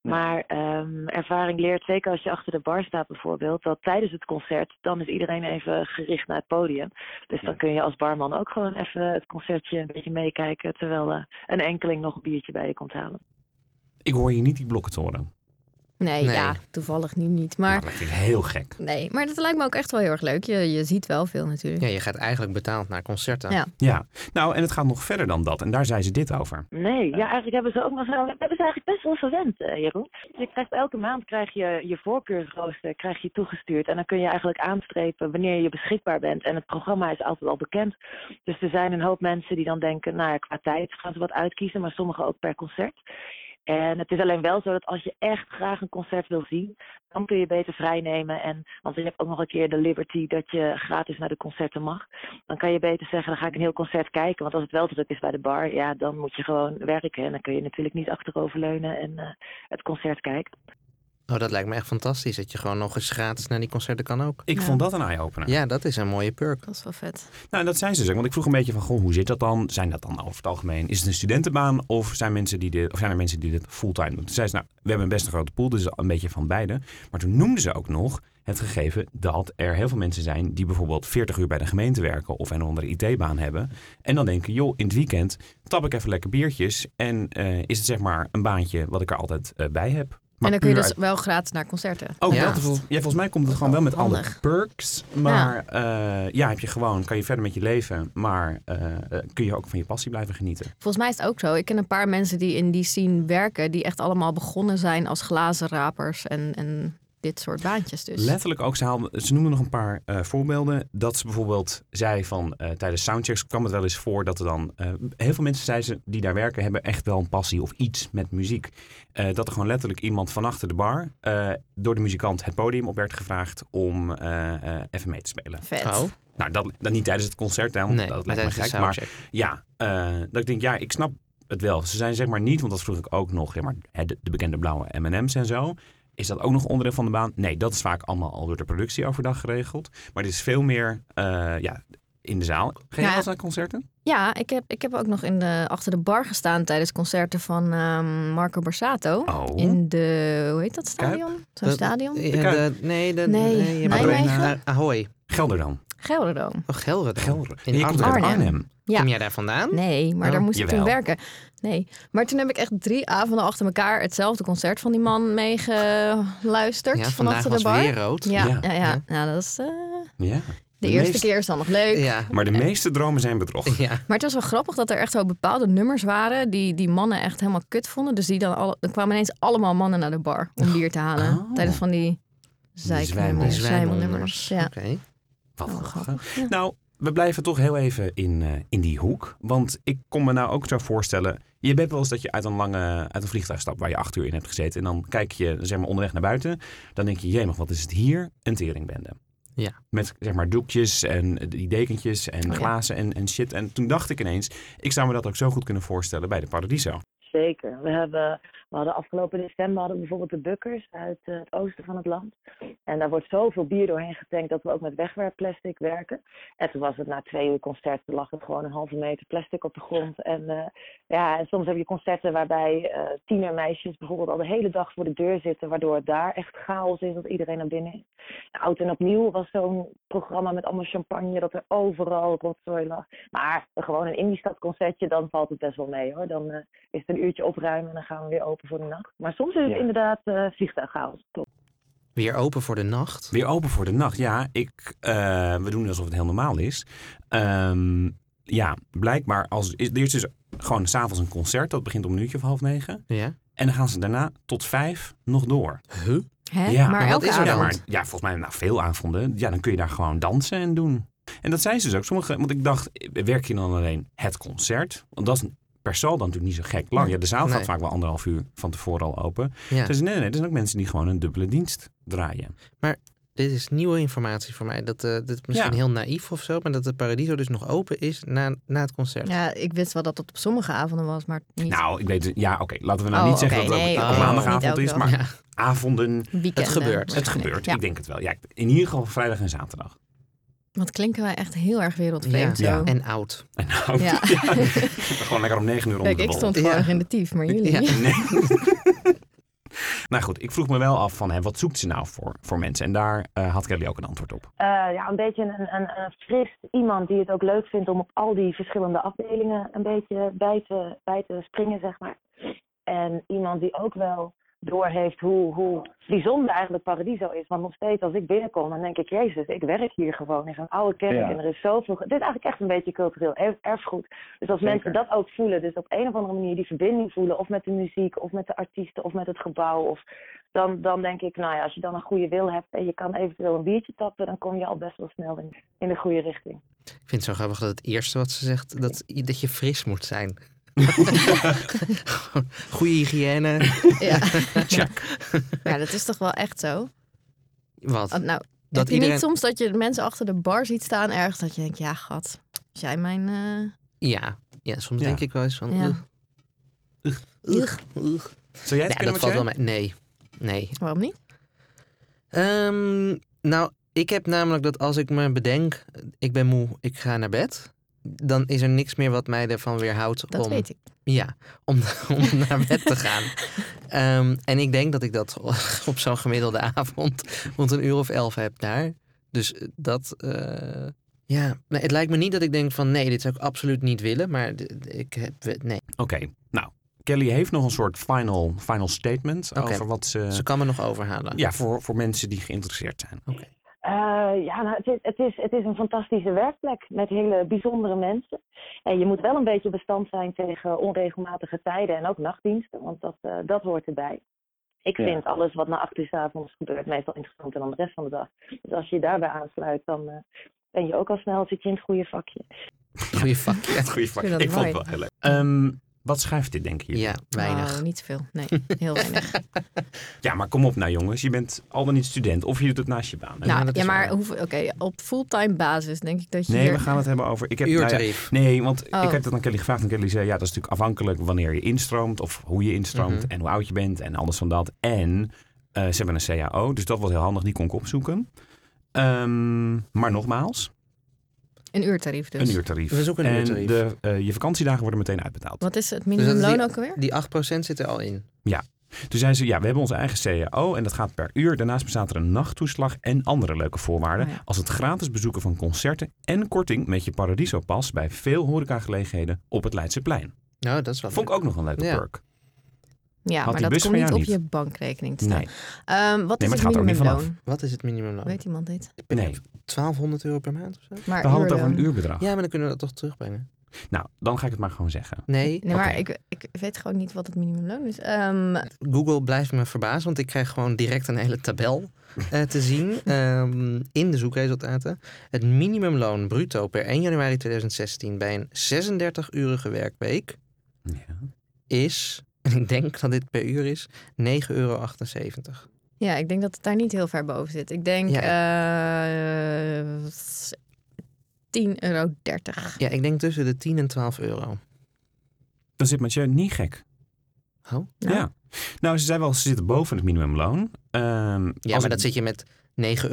Speaker 5: Maar ehm, ervaring leert, zeker als je achter de bar staat bijvoorbeeld, dat tijdens het concert, dan is iedereen even gericht naar het podium. Dus dan kun je als barman ook gewoon even het concertje een beetje meekijken, terwijl eh, een enkeling nog een biertje bij je komt halen.
Speaker 3: Ik hoor hier niet die blokken toren.
Speaker 2: Nee,
Speaker 1: Nee. Nou.
Speaker 2: ja, toevallig nu niet. Maar
Speaker 3: Maar Nou, dat vind ik heel gek.
Speaker 2: nee, maar dat lijkt me ook echt wel heel erg leuk. Je, je ziet wel veel natuurlijk.
Speaker 1: Ja, je gaat eigenlijk betaald naar concerten.
Speaker 2: Ja.
Speaker 3: Ja, nou en het gaat nog verder dan dat. En daar zei ze dit over.
Speaker 5: Nee, ja, eigenlijk hebben ze ook nog zo. Dat hebben ze eigenlijk best wel verwend, eh, Jeroen. Je krijgt elke maand krijg je je voorkeursrooster krijg je toegestuurd. En dan kun je eigenlijk aanstrepen wanneer je beschikbaar bent. En het programma is altijd al bekend. Dus er zijn een hoop mensen die dan denken, nou ja, qua tijd gaan ze wat uitkiezen, maar sommigen ook per concert. En het is alleen wel zo dat als je echt graag een concert wil zien, dan kun je beter vrijnemen. En, want je hebt ook nog een keer de liberty dat je gratis naar de concerten mag. Dan kan je beter zeggen, dan ga ik een heel concert kijken. Want als het wel druk is bij de bar, ja, dan moet je gewoon werken. En dan kun je natuurlijk niet achteroverleunen en eh, het concert kijken.
Speaker 1: Oh, dat lijkt me echt fantastisch. Dat je gewoon nog eens gratis naar die concerten kan ook.
Speaker 3: Ik
Speaker 2: Ja.
Speaker 3: vond dat een eye-opener.
Speaker 1: Ja, dat is een mooie perk.
Speaker 2: Dat is wel vet.
Speaker 3: Nou, en dat zei ze dus ook. Want ik vroeg een beetje van, goh, hoe zit dat dan? Zijn dat dan over het algemeen? Is het een studentenbaan of zijn, mensen die dit, of zijn er mensen die dit fulltime doen? Toen zei ze, nou, we hebben best een grote pool, dus een beetje van beide. Maar toen noemde ze ook nog het gegeven dat er heel veel mensen zijn die bijvoorbeeld 40 uur bij de gemeente werken of een of andere IT-baan hebben. En dan denken, joh, in het weekend tap ik even lekker biertjes en eh, is het zeg maar een baantje wat ik er altijd eh, bij heb. Maar
Speaker 2: en dan kun je
Speaker 3: puur
Speaker 2: dus wel gratis naar concerten.
Speaker 3: Ook
Speaker 1: Ja.
Speaker 3: dat, vol- ja, volgens mij komt het gewoon wel met alle
Speaker 2: handig.
Speaker 3: perks. Maar ja. ja, heb je gewoon, kan je verder met je leven. Maar eh, eh, kun je ook van je passie blijven genieten.
Speaker 2: Volgens mij is het ook zo. Ik ken een paar mensen die in die scene werken, die echt allemaal begonnen zijn als glazenrapers en, en dit soort baantjes dus.
Speaker 3: Letterlijk ook, ze, haalde, ze noemde nog een paar eh, voorbeelden. Dat ze bijvoorbeeld zei van, eh, tijdens soundchecks kwam het wel eens voor dat er dan... eh, heel veel mensen, zei ze, die daar werken, hebben echt wel een passie of iets met muziek. Eh, dat er gewoon letterlijk iemand van achter de bar eh, door de muzikant het podium op werd gevraagd om eh, eh, even mee te spelen.
Speaker 2: Vet.
Speaker 1: Oh,
Speaker 3: Nou, dat, dat niet tijdens het concert, hè, want
Speaker 1: nee.
Speaker 3: dat
Speaker 1: maar
Speaker 3: lijkt me
Speaker 1: tijdens de
Speaker 3: gek. Maar
Speaker 1: soundcheck.
Speaker 3: Ja, eh, dat ik denk, ja, ik snap het wel. Ze zijn zeg maar niet, want dat vroeg ik ook nog, ja, maar, hè, de, de bekende blauwe M&M's en zo. Is dat ook nog onderdeel van de baan? Nee, dat is vaak allemaal al door de productie overdag geregeld. Maar dit is veel meer eh, ja, in de zaal. Ga je
Speaker 2: Ja.
Speaker 3: wel eens naar concerten?
Speaker 2: Ja, ik heb, ik heb ook nog in de, achter de bar gestaan tijdens concerten van ehm, Marco Borsato.
Speaker 3: Oh.
Speaker 2: In de, hoe heet dat stadion? Zo'n
Speaker 1: Dat- eh,
Speaker 2: stadion?
Speaker 1: Ja, de- nee, de,
Speaker 2: Nee,
Speaker 1: je hebt-
Speaker 3: Nijmegen?
Speaker 1: Ahoy.
Speaker 3: Gelderland.
Speaker 2: Gelderdoom.
Speaker 1: Ah, Oh, Gelderdoom.
Speaker 3: Gelderland.
Speaker 1: In
Speaker 3: je komt uit
Speaker 2: Arnhem.
Speaker 3: Arnhem.
Speaker 2: Ja.
Speaker 1: Kom jij daar vandaan?
Speaker 2: Nee, maar
Speaker 1: Oh,
Speaker 2: daar moest ik toen
Speaker 3: jawel.
Speaker 2: werken. Nee, maar toen heb ik echt drie avonden achter elkaar hetzelfde concert van die man meegeluisterd.
Speaker 1: Ja,
Speaker 2: van
Speaker 1: vandaag
Speaker 2: achter de
Speaker 1: was
Speaker 2: bar.
Speaker 1: weer rood.
Speaker 2: Ja,
Speaker 3: Ja.
Speaker 2: ja, ja,
Speaker 1: Ja.
Speaker 2: Nou, dat is eh,
Speaker 3: Ja.
Speaker 2: de eerste
Speaker 3: meest-
Speaker 2: keer is dan nog leuk.
Speaker 1: Ja.
Speaker 3: Maar de meeste dromen zijn bedrog.
Speaker 1: Ja.
Speaker 2: Maar het was wel grappig dat er echt zo bepaalde nummers waren die die mannen echt helemaal kut vonden. Dus die dan alle, er kwamen ineens allemaal mannen naar de bar om bier te halen.
Speaker 3: Oh.
Speaker 2: Tijdens van die zeiknummers,
Speaker 3: zwijmel-
Speaker 2: zwijmelnummers. Ja.
Speaker 1: Oké.
Speaker 3: Wat
Speaker 2: Oh,
Speaker 3: grappig.
Speaker 2: grappig. Ja.
Speaker 3: Nou, we blijven toch heel even in, eh, in die hoek. Want ik kon me nou ook zo voorstellen. Je bent wel eens dat je uit een lange uit een vliegtuig stapt waar je acht uur in hebt gezeten. En dan kijk je zeg maar, onderweg naar buiten. Dan denk je, jemig, wat is het hier? Een teringbende.
Speaker 1: Ja.
Speaker 3: Met zeg maar doekjes en die dekentjes en
Speaker 2: Oh, ja.
Speaker 3: glazen en, en shit. En toen dacht ik ineens, ik zou me dat ook zo goed kunnen voorstellen bij de Paradiso.
Speaker 5: Zeker. We, hebben, we hadden afgelopen december hadden we bijvoorbeeld de bukkers uit eh, het oosten van het land. En daar wordt zoveel bier doorheen getankt dat we ook met wegwerpplastic werken. En toen was het na twee uur concert, toen lag er gewoon een halve meter plastic op de grond. En eh, ja, en soms heb je concerten waarbij eh tienermeisjes bijvoorbeeld al de hele dag voor de deur zitten, waardoor het daar echt chaos is dat iedereen naar binnen is. Oud en opnieuw was zo'n programma met allemaal champagne, dat er overal rotzooi lag. Maar gewoon een Indiestad concertje, dan valt het best wel mee hoor. Dan eh, is het een uurtje opruimen en dan gaan we weer open voor de nacht. Maar soms is het
Speaker 3: Ja.
Speaker 5: inderdaad eh vliegtuigchaos. Klopt.
Speaker 1: Weer open voor de nacht.
Speaker 3: Weer open voor de nacht. Ja, ik, eh, we doen alsof het heel normaal is. Ehm, ja, blijkbaar. Als, is- er is dus gewoon s'avonds een concert. Dat begint om een uurtje of half negen.
Speaker 1: Ja.
Speaker 3: En dan gaan ze daarna tot vijf nog door.
Speaker 1: Huh?
Speaker 2: Hè?
Speaker 3: Ja,
Speaker 2: maar
Speaker 1: maar wat
Speaker 2: elke
Speaker 1: is er
Speaker 2: avond.
Speaker 3: Ja, maar ja, volgens mij na veel avonden. Ja, dan kun je daar gewoon dansen en doen. En dat zijn ze dus ook. Sommige, want ik dacht, werk je dan alleen het concert? Want dat is per sal dan natuurlijk niet zo gek lang. Ja, de zaal gaat
Speaker 1: Nee.
Speaker 3: vaak wel anderhalf uur van tevoren al open.
Speaker 1: Ja.
Speaker 3: Dus nee, nee, er zijn ook mensen die gewoon een dubbele dienst draaien.
Speaker 1: Dit is nieuwe informatie voor mij. Dat, eh dit is misschien
Speaker 3: Ja.
Speaker 1: heel naïef of zo, maar dat de Paradiso dus nog open is na, na het concert.
Speaker 2: Ja, ik wist wel dat het op sommige avonden was, maar niet
Speaker 3: Nou, ik weet het- Ja, oké. laten we nou
Speaker 2: Oh,
Speaker 3: niet zeggen
Speaker 2: oké,
Speaker 3: dat het
Speaker 2: nee,
Speaker 3: ook op
Speaker 1: oké,
Speaker 3: maandagavond
Speaker 2: niet
Speaker 3: is.
Speaker 2: elke
Speaker 3: Maar
Speaker 2: dag.
Speaker 1: Ja.
Speaker 3: avonden,
Speaker 2: weekenden.
Speaker 1: het gebeurt.
Speaker 3: het
Speaker 2: waarschijnlijk.
Speaker 3: gebeurt.
Speaker 2: Ja.
Speaker 3: Ik denk het wel. Ja, in ieder geval vrijdag en zaterdag.
Speaker 2: Want klinken wij echt heel erg wereldvreemd
Speaker 3: Ja.
Speaker 2: zo.
Speaker 1: En oud.
Speaker 3: En nou, ja.
Speaker 2: Ja.
Speaker 3: gewoon lekker om negen uur onder
Speaker 2: Kijk,
Speaker 3: de
Speaker 2: ik
Speaker 3: bol.
Speaker 2: stond
Speaker 1: Ja.
Speaker 2: vorig in de tief, maar jullie...
Speaker 1: Ja.
Speaker 3: Nee. nou goed, ik vroeg me wel af van hè, wat zoekt ze nou voor, voor mensen? En daar eh, had Kelly ook een antwoord op.
Speaker 5: Eh, ja, een beetje een, een, een fris iemand die het ook leuk vindt om op al die verschillende afdelingen een beetje bij te, bij te springen, zeg maar. En iemand die ook wel doorheeft hoe, hoe bijzonder eigenlijk Paradiso is. Want nog steeds als ik binnenkom, dan denk ik, jezus, ik werk hier gewoon in zo'n oude kerk
Speaker 6: Ja.
Speaker 5: en er is zoveel... ge- Dit is eigenlijk echt een beetje cultureel erf- erfgoed. Dus als
Speaker 6: Zeker.
Speaker 5: mensen dat ook voelen, dus op een of andere manier die verbinding voelen, of met de muziek, of met de artiesten, of met het gebouw, of dan, dan denk ik, nou ja, als je dan een goede wil hebt en je kan eventueel een biertje tappen, dan kom je al best wel snel in, in de goede richting.
Speaker 1: Ik vind het zo grappig dat het eerste wat ze zegt, dat, dat je fris moet zijn. Gewoon Goede hygiëne.
Speaker 2: Ja. ja, dat is toch wel echt zo?
Speaker 1: Wat?
Speaker 2: Want nou,
Speaker 1: Dat
Speaker 2: dat je
Speaker 1: iedereen-
Speaker 2: niet soms dat je mensen achter de bar ziet staan ergens dat je denkt, ja, gat, als jij mijn... eh,
Speaker 1: Ja. Ja, soms
Speaker 3: Ja.
Speaker 1: denk ik wel eens van...
Speaker 2: Ja.
Speaker 1: ugh, ugh,
Speaker 2: Ugh.
Speaker 1: ugh, ugh.
Speaker 3: Zou jij het
Speaker 1: Ja,
Speaker 3: kunnen
Speaker 1: dat
Speaker 3: met
Speaker 1: valt wel mee. Nee. Nee.
Speaker 2: Waarom niet?
Speaker 1: Ehm, nou, ik heb namelijk dat als ik me bedenk, ik ben moe, ik ga naar bed. Dan is er niks meer wat mij ervan weerhoudt
Speaker 2: Dat
Speaker 1: om,
Speaker 2: weet ik.
Speaker 1: ja, om, om naar bed te gaan. Ehm, en ik denk dat ik dat op zo'n gemiddelde avond rond een uur of elf heb daar. Dus eh, dat, eh, ja, nee, het lijkt me niet dat ik denk van nee, dit zou ik absoluut niet willen. Maar d- d- ik heb, nee,
Speaker 3: Oké, nou. Kelly heeft nog een soort final, final statement
Speaker 1: Oké.
Speaker 3: over wat ze...
Speaker 1: ze kan me nog overhalen.
Speaker 3: Ja, voor, voor mensen die geïnteresseerd zijn.
Speaker 2: Oh,
Speaker 5: Eh, ja, nou, het, is, het, is, het is een fantastische werkplek met hele bijzondere mensen. En je moet wel een beetje bestand zijn tegen onregelmatige tijden en ook nachtdiensten, want dat, eh, dat hoort erbij. Ik
Speaker 6: Ja.
Speaker 5: vind alles wat na acht uur 's avonds gebeurt meestal interessanter dan de rest van de dag. Dus als je je daarbij aansluit, dan eh, ben je ook al snel zit je in het goede vakje.
Speaker 1: Goeie vak. Ja,
Speaker 3: Goeie vraag.
Speaker 2: Ik vind dat
Speaker 3: Ik vond het wel
Speaker 2: mooi.
Speaker 3: heel leuk. Ehm, wat schrijft dit, denk je?
Speaker 1: ja weinig.
Speaker 2: Nou, niet veel. Nee, heel weinig.
Speaker 3: Ja, maar kom op nou jongens. Je bent al dan niet student of je doet het naast je baan. hè?
Speaker 1: Ja,
Speaker 2: nou,
Speaker 1: dat
Speaker 2: ja,
Speaker 1: is
Speaker 2: maar
Speaker 1: waar.
Speaker 2: hoeveel, oké, op fulltime basis denk ik dat je
Speaker 3: Nee,
Speaker 2: hier-
Speaker 3: we gaan het hebben over... Ik heb, nou ja,
Speaker 1: Uurtarief.
Speaker 3: Nee, want
Speaker 2: Oh.
Speaker 3: ik heb dat aan Kelly gevraagd. En Kelly zei, ja, dat is natuurlijk afhankelijk wanneer je instroomt. Of hoe je instroomt
Speaker 1: Mhm.
Speaker 3: en hoe oud je bent en alles van dat. En eh, ze hebben een CAO, dus dat was heel handig. Die kon ik opzoeken. Ehm, maar nogmaals,
Speaker 2: een uurtarief dus.
Speaker 3: een uurtarief.
Speaker 1: We zoeken een
Speaker 3: en
Speaker 1: uurtarief.
Speaker 3: De, eh, je vakantiedagen worden meteen uitbetaald.
Speaker 2: Wat is het
Speaker 1: dat is
Speaker 2: minimumloon
Speaker 1: die-
Speaker 2: ook alweer?
Speaker 1: Die 8% zit er al in.
Speaker 3: Toen zei ze, ja, we hebben onze eigen CAO en dat gaat per uur. Daarnaast bestaat er een nachttoeslag en andere leuke voorwaarden.
Speaker 2: Oh ja.
Speaker 3: Als het gratis bezoeken van concerten en korting met je Paradiso pas bij veel horecagelegenheden op het Leidseplein.
Speaker 1: Nou, dat is wel
Speaker 3: Vond ik ook nog een leuke
Speaker 1: Ja.
Speaker 2: Ja,
Speaker 3: perk. Had
Speaker 2: maar
Speaker 3: die
Speaker 2: dat
Speaker 3: bus
Speaker 2: komt
Speaker 3: van
Speaker 2: niet op
Speaker 3: jou
Speaker 2: je bankrekening te staan.
Speaker 3: Nee.
Speaker 2: Ehm, wat
Speaker 3: Nee,
Speaker 2: is
Speaker 3: maar het
Speaker 2: het
Speaker 3: gaat er ook niet vanaf.
Speaker 2: minimumloon?
Speaker 1: Wat is het minimumloon?
Speaker 2: Weet iemand dit?
Speaker 3: Nee, Ah.
Speaker 1: 1200 euro per maand of zo?
Speaker 2: Maar
Speaker 3: we hadden het over
Speaker 2: uurloon.
Speaker 3: een uurbedrag.
Speaker 1: Ja, maar dan kunnen we dat toch terugbrengen.
Speaker 3: Nou, dan ga ik het maar gewoon zeggen.
Speaker 1: Nee,
Speaker 2: Nee, maar
Speaker 3: Oké.
Speaker 2: ik, ik weet gewoon niet wat het minimumloon is. Ehm,
Speaker 1: Google blijft me verbazen, want ik krijg gewoon direct een hele tabel eh, te zien ehm, in de zoekresultaten. Het minimumloon bruto per 1 januari 2016 bij een 36-urige werkweek
Speaker 3: Ja.
Speaker 1: is, en ik denk dat dit per uur is, 9,78 euro.
Speaker 2: ja, ik denk dat het daar niet heel ver boven zit. Ik denk eh 10,30 euro.
Speaker 1: Ja, ik denk tussen de 10 en 12 euro.
Speaker 3: Dan zit Mathieu niet gek.
Speaker 1: Oh?
Speaker 2: Ja.
Speaker 3: Ja. Nou, ze zei wel, ze zitten boven het minimumloon. Ehm,
Speaker 1: Ja,
Speaker 3: als
Speaker 1: maar
Speaker 3: ik-
Speaker 1: dat zit je met 9,79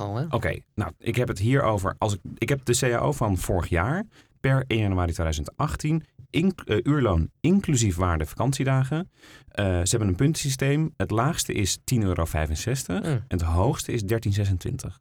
Speaker 1: euro al, hè?
Speaker 3: Oké, nou, ik heb het hier over. Als ik, ik heb de CAO van vorig jaar per 1 januari 2018. In, eh, uurloon inclusief waarde vakantiedagen. Eh, ze hebben een puntensysteem. Het laagste is 10,65 euro.
Speaker 1: Hm.
Speaker 3: En het hoogste is 13,26.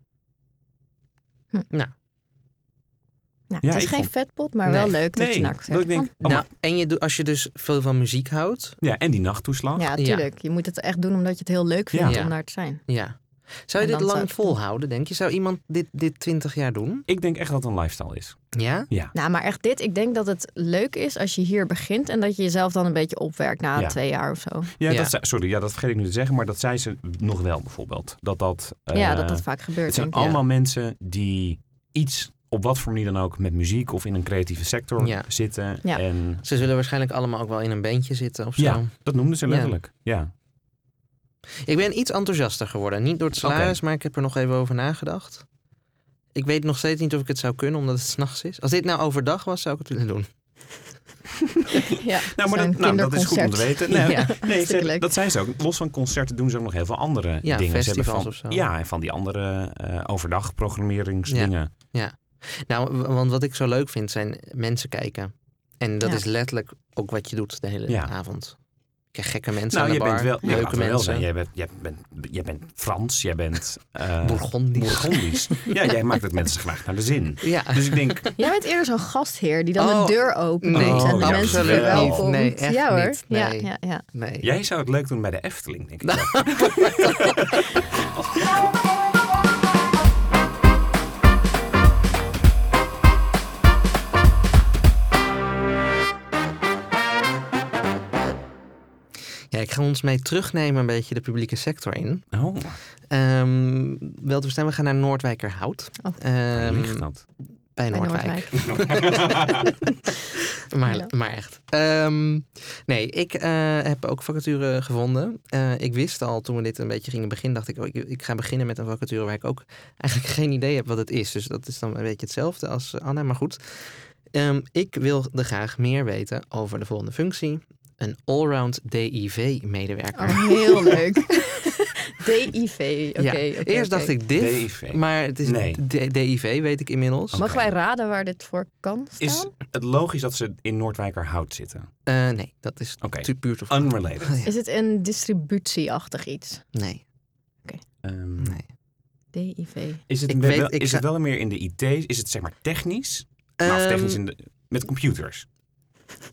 Speaker 2: Nou,
Speaker 3: Ja,
Speaker 2: het is
Speaker 3: ik
Speaker 2: geen
Speaker 3: vond-
Speaker 2: vetpot, maar wel leuk dat je nakt
Speaker 3: dat ik denk, oh,
Speaker 1: Nou, en je, doet- als je dus veel van muziek houdt,
Speaker 3: maar- ja, en die nachttoeslag.
Speaker 2: ja, tuurlijk. Je moet het echt doen omdat je het heel leuk vindt
Speaker 1: Ja.
Speaker 2: om daar te zijn.
Speaker 1: ja. Zou je
Speaker 2: En
Speaker 1: dit
Speaker 2: dan zou
Speaker 1: lang
Speaker 2: ik-
Speaker 1: volhouden, denk je? Zou iemand dit, dit 20 jaar doen?
Speaker 3: Ik denk echt dat het een lifestyle is.
Speaker 1: Ja?
Speaker 3: Ja.
Speaker 2: Nou, maar echt dit. Ik denk dat het leuk is als je hier begint en dat je jezelf dan een beetje opwerkt na
Speaker 3: Ja.
Speaker 2: twee jaar of zo.
Speaker 3: Ja,
Speaker 1: Ja.
Speaker 3: Dat, zei- sorry, ja, dat vergeet ik nu te zeggen, maar dat zei ze nog wel bijvoorbeeld. Dat dat, eh,
Speaker 2: ja, dat dat vaak gebeurt.
Speaker 3: het zijn
Speaker 2: denk ik.
Speaker 3: allemaal mensen die iets op wat voor manier dan ook met muziek of in een creatieve sector
Speaker 1: Ja.
Speaker 3: zitten.
Speaker 2: Ja.
Speaker 3: En
Speaker 1: Ze zullen waarschijnlijk allemaal ook wel in een bandje zitten of zo.
Speaker 3: Ja. dat noemden ze
Speaker 1: Ja.
Speaker 3: letterlijk. Ja.
Speaker 1: Ik ben iets enthousiaster geworden. Niet door het salaris, maar ik heb er nog even over nagedacht. Ik weet nog steeds niet of ik het zou kunnen, omdat het s'nachts is. Als dit nou overdag was, zou ik het willen doen.
Speaker 2: Ja,
Speaker 3: Nou, maar
Speaker 2: zo'n
Speaker 3: dat, nou, dat is goed om
Speaker 2: kinderconcert.
Speaker 3: te weten. Nee,
Speaker 1: Ja,
Speaker 3: nee,
Speaker 2: hartstikke
Speaker 3: ze-
Speaker 2: leuk.
Speaker 3: dat zijn ze ook. Los van concerten doen ze ook nog heel veel andere
Speaker 1: Ja,
Speaker 3: dingen. Ze hebben
Speaker 1: festivals
Speaker 3: van,
Speaker 1: of zo.
Speaker 3: Ja, en van die andere eh, overdag programmeringsdingen.
Speaker 1: Nou, w- want wat ik zo leuk vind, zijn mensen kijken. En dat
Speaker 2: Ja.
Speaker 1: is letterlijk ook wat je doet de hele
Speaker 3: Ja.
Speaker 1: avond. Ik krijg gekke mensen
Speaker 3: Nou,
Speaker 1: aan
Speaker 3: je
Speaker 1: de bar,
Speaker 3: bent wel, ja,
Speaker 1: leuke
Speaker 3: laten we wel zijn.
Speaker 1: mensen.
Speaker 3: Jij bent, jij, bent, jij bent Frans, jij bent eh,
Speaker 1: Bourgondisch.
Speaker 3: Bourgondisch. ja, jij maakt het mensen graag naar de zin.
Speaker 1: Ja.
Speaker 3: Dus ik denk,
Speaker 2: Jij bent eerder zo'n gastheer die dan
Speaker 1: Oh,
Speaker 2: de deur opent
Speaker 1: nee, Oh,
Speaker 2: en
Speaker 3: ja,
Speaker 2: dan mensen weer
Speaker 3: absoluut
Speaker 2: welkom.
Speaker 1: niet. Nee, echt
Speaker 2: ja hoor.
Speaker 1: niet.
Speaker 2: Ja,
Speaker 1: Nee.
Speaker 2: ja, ja.
Speaker 1: Nee.
Speaker 3: Jij zou het leuk doen bij de Efteling, denk ik.
Speaker 1: Ja, ik ga ons mee terugnemen een beetje de publieke sector in.
Speaker 3: Oh,
Speaker 1: Ehm wel te verstaan, we gaan naar Noordwijkerhout.
Speaker 2: Oh.
Speaker 1: Ehm,
Speaker 3: ligt dat?
Speaker 1: bij
Speaker 2: Bij
Speaker 1: Noordwijk.
Speaker 2: Noordwijk.
Speaker 1: Maar,
Speaker 2: Hallo.
Speaker 1: maar echt. Ehm, nee, ik eh, heb ook vacature gevonden. Eh, ik wist al toen we dit een beetje gingen beginnen, dacht ik, oh, ik, ik ga beginnen met een vacature waar ik ook eigenlijk geen idee heb wat het is. Dus dat is dan een beetje hetzelfde als eh, Anna. Maar goed, Ehm, ik wilde graag meer weten over de volgende functie. Een allround DIV-medewerker.
Speaker 2: Oh, heel leuk. DIV. Oké.
Speaker 1: Ja,
Speaker 2: oké,
Speaker 1: Eerst
Speaker 2: oké.
Speaker 1: dacht ik dit,
Speaker 3: DIV.
Speaker 1: maar het is
Speaker 3: Nee. Oh.
Speaker 1: D- DIV, weet ik inmiddels.
Speaker 2: Mogen wij raden waar dit voor kan staan?
Speaker 3: Is het logisch dat ze in Noordwijkerhout zitten?
Speaker 1: Eh, nee, dat is
Speaker 3: Oké.
Speaker 1: tu- puur toeval.
Speaker 3: Unrelated.
Speaker 2: Is het een distributieachtig iets?
Speaker 1: Nee,
Speaker 3: Ehm,
Speaker 1: nee.
Speaker 2: DIV.
Speaker 3: Is, het,
Speaker 1: Ik
Speaker 3: wel,
Speaker 1: weet-
Speaker 3: wel-
Speaker 1: ik
Speaker 3: is
Speaker 1: ga-
Speaker 3: het wel meer in de IT? Is het zeg maar technisch? nou, of
Speaker 1: Ehm,
Speaker 3: technisch in de, met computers.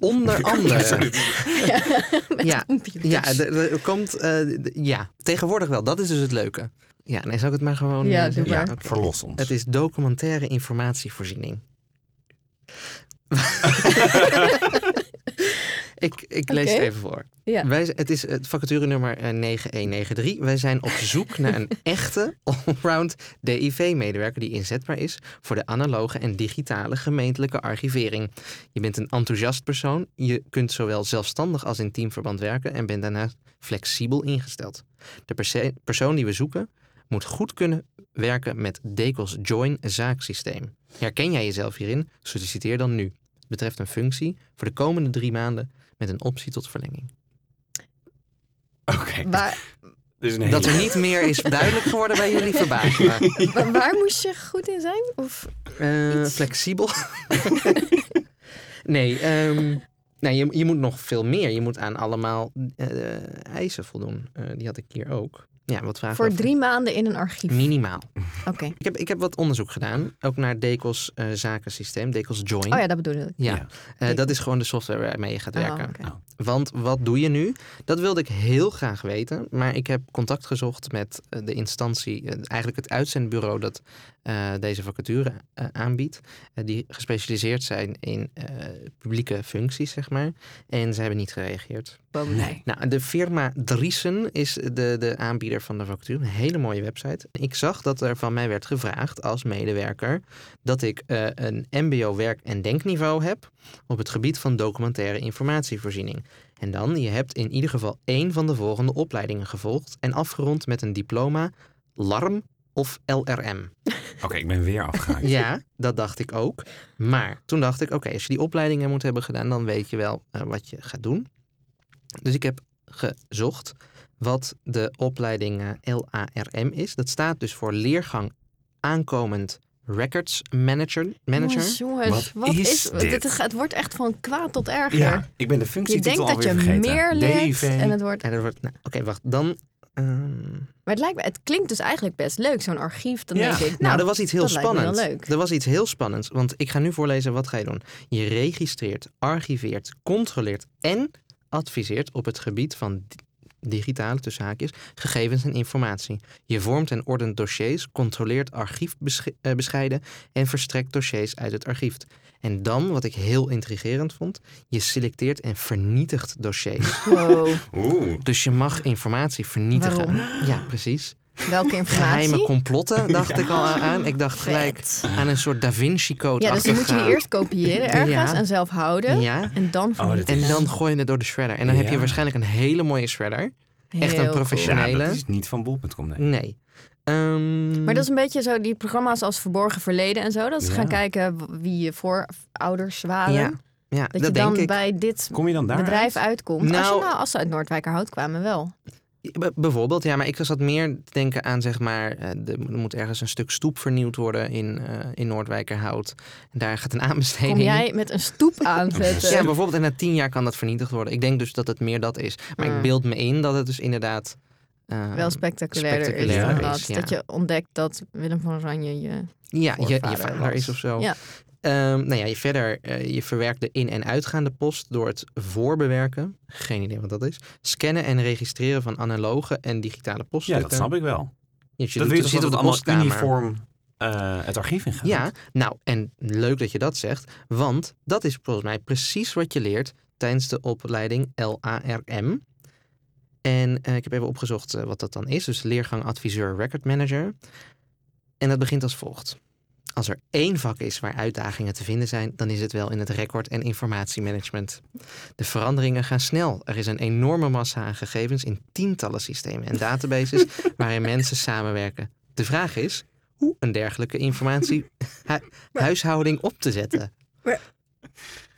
Speaker 1: onder andere.
Speaker 3: Sorry.
Speaker 1: Ja,
Speaker 2: computers.
Speaker 1: Ja, er, er komt. eh, d- ja, tegenwoordig wel. Dat is dus het leuke. Ja, nee, zou ik het maar gewoon.
Speaker 2: Ja,
Speaker 1: eh,
Speaker 2: doe
Speaker 1: zeggen?
Speaker 2: maar.
Speaker 1: Ja, oké.
Speaker 3: Verlos ons.
Speaker 1: Het is documentaire informatievoorziening. ik ik lees het
Speaker 2: Oké.
Speaker 1: even voor.
Speaker 2: Ja.
Speaker 1: Wij, z- het is het vacature nummer eh, 9193. Wij zijn op zoek naar een echte allround DIV-medewerker die inzetbaar is voor de analoge en digitale gemeentelijke archivering. Je bent een enthousiast persoon. Je kunt zowel zelfstandig als in teamverband werken en bent daarnaast flexibel ingesteld. De perse- persoon die we zoeken moet goed kunnen werken met Decos Join zaaksysteem. Herken jij jezelf hierin? Solliciteer dan nu. Het betreft een functie voor de komende drie maanden met een optie tot verlenging.
Speaker 3: Oké.
Speaker 2: Waar,
Speaker 3: Dus een hele...
Speaker 1: Dat er niet meer is duidelijk geworden bij jullie verbaasd. maar,
Speaker 2: waar, waar moest je goed in zijn? Of
Speaker 1: eh, flexibel. nee, ehm, Nou, je, je moet nog veel meer. Je moet aan allemaal eh, eisen voldoen. Eh, die had ik hier ook. Ja, wat vragen
Speaker 2: Voor
Speaker 1: we-
Speaker 2: drie maanden in een archief.
Speaker 1: Minimaal.
Speaker 2: Oké.
Speaker 1: Ik heb, ik heb wat onderzoek gedaan. Ook naar Decos eh, zakensysteem. Decos Join.
Speaker 2: Oh ja, dat bedoelde ik.
Speaker 1: Ja,
Speaker 3: Ja.
Speaker 1: eh, dat is gewoon de software waarmee je gaat
Speaker 2: Oh,
Speaker 1: werken.
Speaker 2: oké.
Speaker 1: Want wat doe je nu? Dat wilde ik heel graag weten. Maar ik heb contact gezocht met eh, de instantie, eh, eigenlijk het uitzendbureau dat eh, deze vacature eh, aanbiedt. eh, die gespecialiseerd zijn in eh, publieke functies, zeg maar. En ze hebben niet gereageerd.
Speaker 2: Boven mij.
Speaker 1: Nou, de firma Driesen is de, de aanbieder van de vacature. Een hele mooie website. Ik zag dat er van mij werd gevraagd als medewerker dat ik eh, een MBO-werk- en denkniveau heb op het gebied van documentaire informatievoorziening. En dan, je hebt in ieder geval één van de volgende opleidingen gevolgd en afgerond met een diploma, LARM of LRM.
Speaker 3: Oké, ik ben weer afgehaakt.
Speaker 1: Ja, dat dacht ik ook. Maar toen dacht ik, oké, als je die opleidingen moet hebben gedaan, dan weet je wel eh, wat je gaat doen. Dus ik heb gezocht wat de opleiding eh, LARM is. Dat staat dus voor leergang aankomend records manager. manager.
Speaker 2: Jongens, jongens,
Speaker 3: Wat
Speaker 2: wat,
Speaker 3: is
Speaker 2: is,
Speaker 3: dit?
Speaker 2: dit? Het, het wordt echt van kwaad tot erger.
Speaker 3: Ja, ik ben de
Speaker 2: Je
Speaker 3: functietitel
Speaker 2: denkt dat je
Speaker 3: alweer vergeten.
Speaker 2: meer leert
Speaker 3: DV.
Speaker 2: en het wordt...
Speaker 1: En er wordt, nou, oké, wacht, dan... ehm,
Speaker 2: Maar het, lijkt me, het klinkt dus eigenlijk best leuk, zo'n archief. Dan
Speaker 3: Ja.
Speaker 2: denk ik, nou,
Speaker 1: Nou, er was iets heel
Speaker 2: dat lijkt me wel
Speaker 1: spannends.
Speaker 2: leuk.
Speaker 1: Er was iets heel spannends. Want ik ga nu voorlezen wat ga je doen. Je registreert, archiveert, controleert en adviseert op het gebied van di- digitale tussen haakjes, gegevens en informatie. Je vormt en ordent dossiers, controleert archiefbescheiden en verstrekt dossiers uit het archief. En dan, wat ik heel intrigerend vond, je selecteert en vernietigt dossiers.
Speaker 2: wow,
Speaker 3: Oeh.
Speaker 1: dus je mag informatie vernietigen. Ja, precies.
Speaker 2: welke informatie?
Speaker 1: Geheime complotten, dacht ik al aan. Ik dacht gelijk,
Speaker 2: Vet.
Speaker 1: aan een soort Da Vinci-code.
Speaker 2: Ja, dus dan moet je die eerst kopiëren ergens
Speaker 1: Ja.
Speaker 2: en zelf houden.
Speaker 1: Ja.
Speaker 2: En dan
Speaker 3: Oh, dat
Speaker 2: vernietigen.
Speaker 1: En dan gooi je het door de shredder. En dan heb je
Speaker 3: Ja.
Speaker 1: waarschijnlijk een hele mooie shredder. echt een
Speaker 2: Heel
Speaker 1: professional.
Speaker 3: Ja,
Speaker 1: Originele.
Speaker 3: dat is niet van bol.com, nee.
Speaker 1: Nee. Ehm,
Speaker 2: Maar dat is een beetje zo die programma's als Verborgen Verleden en zo. Dat ze
Speaker 3: Ja.
Speaker 2: gaan kijken w- wie je voorouders waren.
Speaker 1: Ja, ja,
Speaker 2: Dat,
Speaker 1: dat,
Speaker 2: je dan
Speaker 1: denk ik.
Speaker 2: bij dit
Speaker 3: Kom je dan daar
Speaker 2: bedrijf uitkomt. als,
Speaker 1: Nou-
Speaker 2: je nou, als ze uit Noordwijkerhout kwamen wel.
Speaker 1: B- bijvoorbeeld, ja, maar ik zat meer te denken aan zeg maar, eh, de- er moet ergens een stuk stoep vernieuwd worden in, eh in Noordwijkerhout. En daar gaat een aanbesteding.
Speaker 2: Kom jij met een stoep aanzetten.
Speaker 1: Ja, bijvoorbeeld, en na tien jaar kan dat vernietigd worden. Ik denk dus dat het meer dat is. Maar ik
Speaker 2: Mm.
Speaker 1: beeld me in dat het dus inderdaad. eh,
Speaker 2: wel spectaculairder is
Speaker 1: spectaculairder
Speaker 2: dan
Speaker 1: is,
Speaker 2: dat.
Speaker 1: ja.
Speaker 2: Dat je ontdekt dat Willem van Oranje je...
Speaker 1: Ja, je, je
Speaker 2: voorvader
Speaker 1: vader
Speaker 2: was.
Speaker 1: is of zo.
Speaker 2: Ja.
Speaker 1: Ehm, nou ja, je verder, eh, je verwerkt de in- en uitgaande post door het voorbewerken, geen idee wat dat is, scannen en registreren van analoge en digitale
Speaker 3: Ja,
Speaker 1: poststukken.
Speaker 3: dat snap ik wel.
Speaker 1: Ja, je
Speaker 3: dat
Speaker 1: doet-
Speaker 3: weet je
Speaker 1: zit
Speaker 3: toch
Speaker 1: op de
Speaker 3: dat het allemaal
Speaker 1: postkamer.
Speaker 3: uniform eh, het archief in gaat?
Speaker 1: Ja, nou, en leuk dat je dat zegt, want dat is volgens mij precies wat je leert tijdens de opleiding LARM. En eh, ik heb even opgezocht eh, wat dat dan is, dus leergang adviseur record manager. En dat begint als volgt. Als er één vak is waar uitdagingen te vinden zijn, dan is het wel in het record- en informatiemanagement. De veranderingen gaan snel. Er is een enorme massa aan gegevens in tientallen systemen en databases waarin mensen samenwerken. De vraag is hoe een dergelijke informatie hu- huishouding op te zetten.